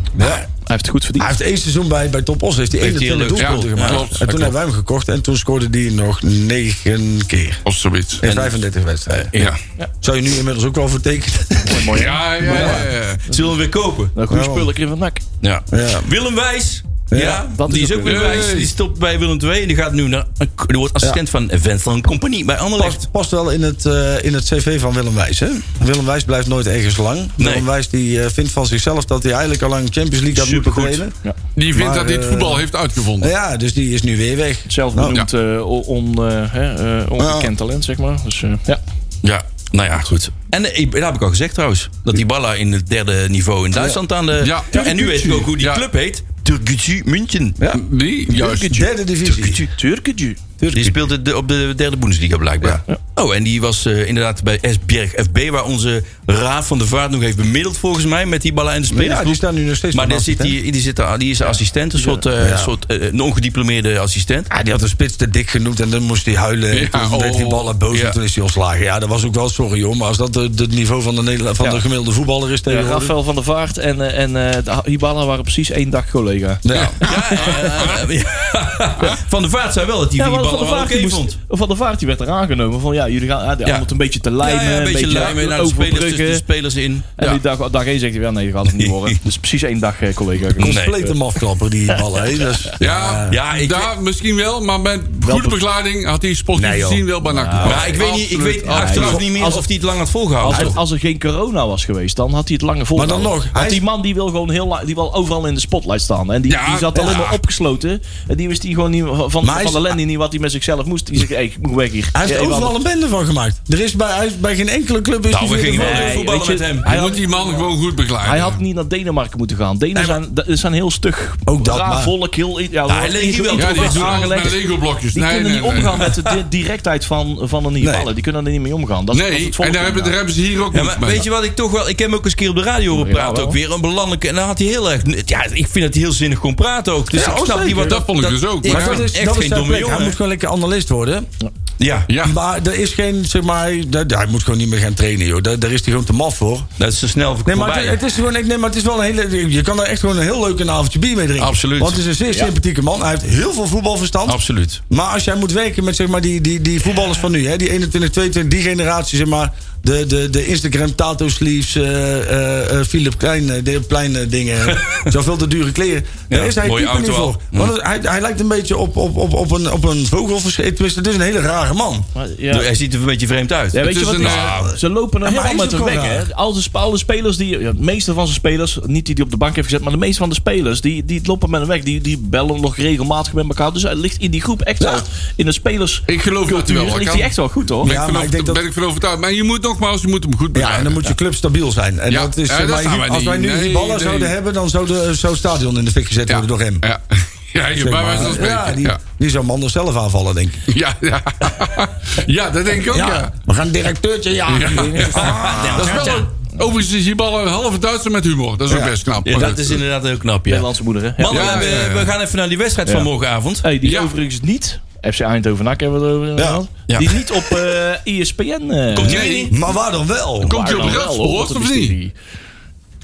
B: Hij heeft het goed verdiend.
F: Hij heeft één seizoen bij, bij Top Os heeft hij
D: Heeft hij
F: 21
D: heel leuk
F: doelpunten
D: gespeeld.
F: gemaakt.
E: Ja,
F: en
E: klopt,
F: toen
E: klopt.
F: hebben wij hem gekocht en toen scoorde hij nog 9 keer.
E: Of zoiets.
F: In 35 wedstrijden.
E: Ja.
F: Zou je nu inmiddels ook wel voor tekenen?
E: Ja, ja, ja. ja.
D: Zullen we hem weer kopen?
B: Een goede
F: Ja, man.
B: spullen kreeg van NAC.
D: Ja.
F: Ja.
D: Willem Wijs. Ja,
F: Ja,
B: dat
D: die
B: is
D: is ook
B: ook
D: weer
E: leuk.
D: wijs. Die stopt bij Willem II en die gaat nu naar. Die wordt assistent van Vincent Compagnie bij Anderlecht.
F: Past, past wel in het, eh, in het cv van Willem Wijs. Hè? Willem Wijs blijft nooit ergens lang. Willem Wijs die, eh, vindt van zichzelf dat hij eigenlijk al lang Champions League had moeten
D: Supergoed.
F: spelen.
E: Die vindt
F: Maar,
E: dat hij het
F: eh,
E: voetbal heeft uitgevonden.
F: Ja, dus die is nu weer weg.
B: Zelf
F: Nou,
B: benoemd eh, on- on, eh, hè, eh, onbekend
F: Ja.
B: talent, zeg maar. Dus, eh, ja.
D: Ja, nou ja, goed. En eh, ik- dat heb ik al gezegd trouwens. Dat die Balla in het derde niveau in Duitsland aan de.
E: Ja.
D: En nu weet ik ook hoe die
E: Ja.
D: club heet: Turkutsu München.
E: Die, juist.
F: Derde divisie.
D: Turkutsu.
B: Turkiju.
D: Die speelt het de- op de derde Bundesliga blijkbaar. Oh, en die was eh, inderdaad bij S Bjerg FB, waar onze Raaf van der Vaart nog heeft bemiddeld volgens mij met die Balla en de spelers.
F: Ja, die staan nu nog steeds
D: Maar
F: nog
D: daar zit
F: assistent.
D: die, die, zit daar, die is assistent, een soort, eh, soort eh, een ongediplomeerde assistent.
F: Ah, die had een spits te dik genoemd en dan moest hij huilen.
E: Ja,
F: en toen
E: oh,
F: werd die ballen boos
D: ja.
F: en toen is hij ontslagen. Ja, dat was ook wel sorry hoor. Maar als dat eh, het niveau van de, Nederla- van
B: Ja.
F: de gemiddelde voetballer is
B: Ja,
F: tegenwoordig...
B: Eh, Rafael van der Vaart en, eh, en eh, de Ha- Hibala waren precies één dag collega.
F: Ja.
D: Ja, eh, eh, ja. Van der Vaart zei wel dat hij die
B: want
D: ballen wel oké
B: die moest-
D: vond.
B: van der Vaart die werd er aangenomen van ja, jullie gaan ja,
D: Ja.
B: om het een beetje te lijmen,
D: Ja, ja, een beetje lijmen naar de spelers, tussen de
B: overbruggen.
D: spelers in.
B: En
D: Ja.
B: die dag, dag één zegt hij, ja nee, je gaat het niet worden. Dus precies één dag eh, collega.
D: Nee.
F: Compleet een mafklapper die ballen. hè. Dat is-
E: Ja,
D: Ja, ik
E: daar misschien wel, maar met goede
B: tot-
E: begeleiding had hij sportief
F: Nee, joh.
E: gezien wel bij NAC.
D: Maar Ah, ik weet, niet, ik weet achteraf
B: joh.
D: niet meer
B: Als-
D: of hij het lang had volgehouden.
B: Als er, als er geen corona was geweest, dan had hij het lange vol.
F: Maar dan nog,
B: Want
F: hij-
B: die man die wil gewoon heel la- die wil overal in de spotlight staan. En die,
E: Ja,
B: die zat alleen maar opgesloten. En die wist die gewoon niet van, van
F: Maar hij is-
B: de Lenny niet wat hij met zichzelf moest. Die zegt, hey, ik moet weg hier.
F: Hij heeft
B: Ja, even
F: overal
B: anders.
F: een bende van gemaakt. Er is bij, hij is bij geen enkele club... Is
D: Nou,
F: hij
D: we
F: voor de
D: gingen
F: val-
D: wel
B: Nee,
D: voetballen
B: weet je,
D: met hem.
E: Hij moet die man gewoon goed begeleiden.
B: Hij had niet naar Denemarken moeten gaan. Denen zijn, dat zijn heel stug.
F: Ook dat,
B: raar
F: maar-
B: volk. Heel, ja,
D: hij leek hier wel
E: Oh, ja, die
D: Toch
E: doen alles
B: aangelegd.
E: met Lego-blokjes.
B: Die
E: Dus Nee,
B: kunnen
E: nee,
B: niet
E: nee.
B: omgaan met de di- directheid van, van een Nibali. Die kunnen er niet mee omgaan. Dat is- dat is
E: Nee,
B: het
E: en
B: volk
E: daar hebben, daar
B: inderdaad.
E: hebben ze hier ook
D: Ja,
E: moeite
D: maar
E: mee.
D: weet je wat ik toch wel... Ik heb hem ook eens een keer op de radio horen
B: Ja,
D: praten.
B: wel.
D: Ook weer een belangrijke... En dan had hij heel erg... Ja, ik vind dat hij heel zinnig kon praten ook. Dus
E: Ja,
D: ik
E: oh,
D: snap niet
E: zeker.
D: wat...
E: Dat vond ik dus ook,
D: Ik
E: maar
D: vind
E: dat
D: het
F: dat
D: echt
F: is
D: geen
F: zijn
D: domme
F: plek. Hij
D: jongen.
F: moet gewoon lekker analist worden.
D: Ja,
E: ja.
F: Maar er is geen, zeg maar... hij- daar- Hij moet gewoon niet meer gaan trainen, joh. Daar, daar is hij gewoon te maf voor.
D: dat is te snel
F: Nee, maar
D: voorbij.
F: het, het is gewoon, ik- nee, maar het is wel een hele. Je kan er echt gewoon een heel leuk een avondje bier mee drinken.
E: Absoluut.
F: Want het is een zeer sympathieke man. Hij heeft heel veel voetbalverstand.
E: Absoluut.
F: Maar als jij moet werken met zeg maar, die, die, die voetballers van nu, hè, die 21, 22, die generatie, zeg maar. De, de, de Instagram Tato Sleeves, eh, eh, eh, Philip Klein, eh, de Plein eh, dingen. Zoveel te dure kleren. Daar
D: Ja,
F: is hij
D: mooie
F: type niet
D: auto al. Mm.
F: voor. Want het- hij, hij lijkt een beetje op, op, op, op, een, op een vogel. vers- Tenminste, het is een hele rare
D: rare man.
B: Maar, ja.
D: Hij ziet er een beetje vreemd uit.
B: Ja, weet
E: Het
B: je
E: is
B: wat
E: een,
B: het is?
E: nou,
B: Ze lopen er helemaal
F: hij
B: met
F: is
B: hun
F: ook
B: weg.
F: wel raar.
B: hè. Al de, sp- alle spelers die... Ja, de meeste van zijn spelers, niet die die op de bank heeft gezet... maar de meeste van de spelers, die, die lopen met hun weg. Die, die bellen nog regelmatig met elkaar. Dus hij ligt in die groep echt wel... In de spelers...
E: Ik geloof dat hij wel
B: ligt
E: kan.
B: hij echt wel goed, hoor.
E: Ben,
F: Ja,
E: ik
F: maar
E: van
F: ik denk
E: over-
F: dat-
E: ben ik van overtuigd. Maar je moet nogmaals, je moet hem goed
F: Ja, en dan
E: benaderen.
F: moet je club stabiel zijn. En
E: Ja,
F: dat is,
E: ja,
F: eh,
E: dat
F: wij
E: staan
F: hier-
E: wij
F: als
E: niet.
F: wij nu
E: Nee,
F: die ballen
E: nee.
F: zouden hebben, dan zou de- zou het stadion in de fik gezet worden door hem.
E: Ja, ja je
F: Zeg
E: bij
F: maar. eh,
E: wijze van spreken.
F: ja, die,
E: Ja,
F: die zou Mandel zelf aanvallen, denk ik.
E: ja. ja. Ja, dat denk ik ook, ja.
F: we gaan een directeurtje jagen.
E: Dat is wel... een- Overigens is die bal een halve Duitser met humor. Dat is ook best knap.
D: Ja,
E: Maar
D: dat is inderdaad heel knap, ja.
B: Nederlandse moeder, hè. Ja.
D: Mannen, eh,
E: Ja, ja, ja.
D: We, we gaan even naar die wedstrijd van morgenavond.
B: Hey, die
E: Ja.
B: overigens niet... FC Eindhoven NAC hebben we het over gehad.
D: Ja.
B: Die niet op eh ESPN... eh,
D: Komt die
E: Nee.
D: mening?
F: Maar waar dan wel?
E: Komt hij op
B: Maar dan wel, hoor,
E: Radsport
B: wat een
E: of niet?
B: mysterie.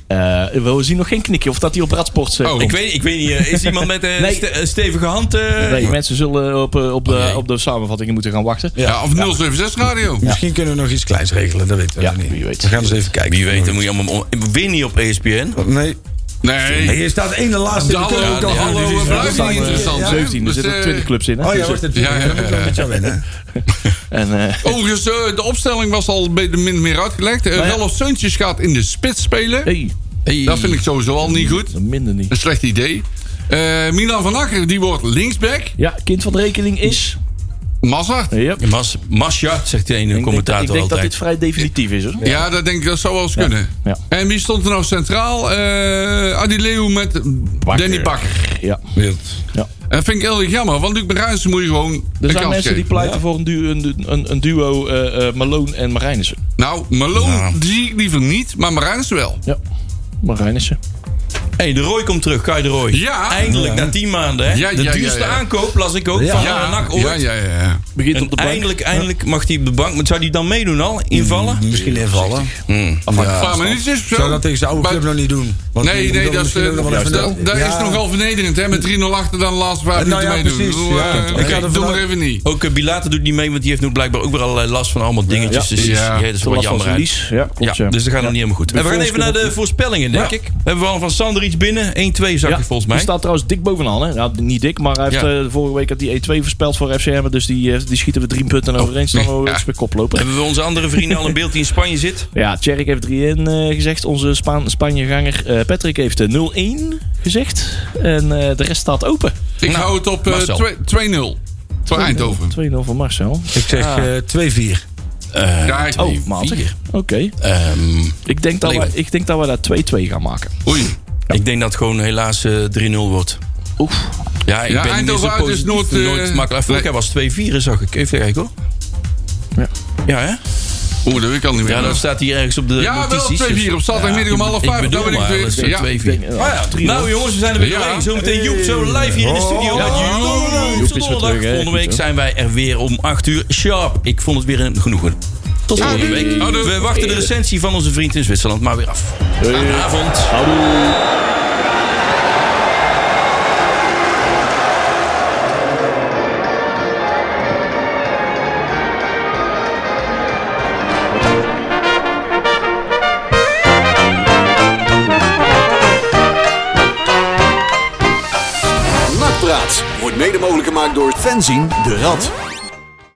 B: Eh, we zien nog geen knikje of dat hij op Radsport eh,
E: Oh,
B: komt.
D: Ik weet, ik weet niet, eh, is iemand met een
B: Nee.
D: stevige hand? eh,
B: Nee, mensen zullen op, eh, op, de,
D: jee.
B: op de samenvattingen moeten gaan wachten.
E: Ja, of 076 radio.
F: Misschien kunnen we nog iets kleins regelen, dat weten we
B: Ja,
F: nog niet.
B: wie weet.
F: We gaan eens even kijken.
D: Wie weet, dan moet je allemaal... Win niet op ESPN.
F: Nee.
E: Nee.
F: Hey, je staat één de laatste.
E: De
F: we kunnen
E: hallo,
F: ook
E: de
F: al gewoon
E: hallo,
F: divisie-
E: we blijven
F: Ja,
E: niet interessant.
F: ja.
B: 17, eh,
E: Dus,
B: er zitten
E: eh,
B: 20 clubs in. Hè?
F: Oh ja,
B: Dus,
F: wordt het.
E: Ja, ja,
F: Ja,
E: ja,
F: ja,
E: ja.
F: Dat moet ik met jou wennen.
B: eh, en, eh,
E: Overigens, eh, de opstelling was al bij de min of meer uitgelegd. Eh,
B: ja.
E: Ralf Seuntjes gaat in de spits spelen.
B: hey,
E: Dat vind ik sowieso al niet goed.
B: minder niet.
E: Een slecht idee. Eh Milan van Akker, die wordt linksback.
B: Ja, kind van de rekening is...
E: Mazart.
B: Yep. Ik denk
D: Mas, Masja, zegt de ene
B: dat- ik
D: commentator
B: denk dat dit
D: altijd.
B: vrij definitief is. Hoor.
E: Ja, dat denk ik, dat zou wel eens kunnen.
B: ja.
E: En wie stond er nou centraal? Eh Adileu met Danny Bakker.
B: Ja.
E: Dat Eh, vind ik heel erg jammer, want Luc Marijnissen moet je gewoon
B: Er
E: een
B: zijn
E: kans
B: mensen die
E: geven.
B: pleiten voor een, du- een, een, een duo eh eh Malone en Marijnissen.
E: Nou, Malone die zie ik liever niet, maar Marijnissen wel.
B: Ja, Marijnissen.
D: hey, de Roy komt terug, Kai de Roy.
E: Ja.
D: Eindelijk, na tien maanden. Hè?
E: Ja,
D: de
E: ja, ja,
D: duurste
E: ja.
D: aankoop, las ik ook,
F: Ja.
D: van
E: Ja,
D: ja. NAC ooit.
E: ja, ja, ja.
B: Begint
D: En
B: op de bank.
D: eindelijk, eindelijk mag hij op de bank. Maar zou hij dan meedoen al? Invallen?
E: Mm-hmm.
F: Misschien invallen.
E: Een paar minuutjes of zo.
F: Zou dat tegen zijn oude
E: Maar-
F: club nog niet doen? Want die-
E: Nee,
F: die
E: nee,
F: wil
E: dat, is,
F: misschien ook nog
E: eh,
F: wel
E: dat,
F: even
E: dat,
F: dat-
E: is
F: ja.
E: nogal vernederend, hè? Met 3-0 achter dan de laatste vijf
F: Nou
E: minuten
F: ja,
E: meedoen.
F: precies,
E: Doe,
F: ja.
E: eh,
F: Ik
E: oké,
F: ga er
E: doe maar
F: vanuit-
E: even niet.
D: Ook eh, Bilater doet niet mee, want die heeft nu blijkbaar ook weer allerlei last van allemaal dingetjes.
B: Ja.
D: Dus
E: Ja.
D: ja. dat is wel
B: Last van
D: jammer
B: zijn
D: uit.
B: lies. Ja, klopt.
D: Ja,
B: ja.
D: dus dat gaat nog niet helemaal goed. En we gaan even naar de voorspellingen, denk ik. We hebben we al van Sander iets binnen. 1-2 zag
B: Ja,
D: ik volgens
B: Die
D: mij.
B: staat trouwens dik bovenaan. Hè? Nou, niet dik, maar hij heeft
D: Ja.
B: eh, vorige week had die E2 voorspeld voor FCM. Dus die, eh, die schieten we drie
D: Oh,
B: punten overeen. Staan we
E: ja.
B: weer weer koploper.
D: Hebben we onze andere vrienden al in beeld die in Spanje zit?
B: Ja, Tjerk heeft 3-1 eh, gezegd. Onze Spaan Spanjeganger eh, Patrick heeft eh, 0-1 gezegd. En eh, de rest staat open.
E: Ik
F: Nou,
E: hou het op eh,
D: Marcel.
E: twee- 2-0. Voor Eindhoven.
B: 2-0 voor Marcel.
F: Ik zeg eh, 2-4.
E: Ja, ik-
B: Oh, matig. Oké.
D: Ehm,
B: Ik, denk dat wij- ik denk dat we daar 2-2 gaan maken.
E: Oei.
D: Ik denk dat het gewoon helaas eh, 3-0 wordt.
B: Oef.
D: Ja, ik
E: Ja,
D: ben niet
E: Eindhoven
D: zo
E: uit is
D: positief,
E: nooit,
D: nooit,
E: eh,
D: makkelijk. Vorig
E: nee.
D: jaar was 2-4, zag ik. Even kijken hoor.
B: Ja.
D: Ja, hè?
E: Oeh, dat weet ik al niet meer.
D: Ja, dat staat hier ergens op de
E: Ja, wel
D: notities. Dus-
E: 2-4 op zaterdagmiddag om half vijf.
D: Ik
E: Daar
D: bedoel
E: ben ik
D: maar,
E: weer-
D: dat is
E: ja.
D: 2-4.
B: Ik denk, eh,
D: Maar ja,
B: 3-0.
D: nou jongens, we zijn er weer
E: Ja.
D: doorheen. Zometeen Joep zo live hier in de studio. met
B: Ja.
D: Joep.
B: Joep is weer
D: Donderdag.
B: terug, hè.
D: Volgende week
B: Goed, hè.
D: zijn wij er weer om 8 uur sharp. Ik vond het weer een genoegen. Tot volgende week.
E: Houdoe.
D: We wachten de recensie van onze vriend in Zwitserland maar weer af. Avond.
C: Nakpraat wordt mede mogelijk gemaakt door Fenzin de Rad.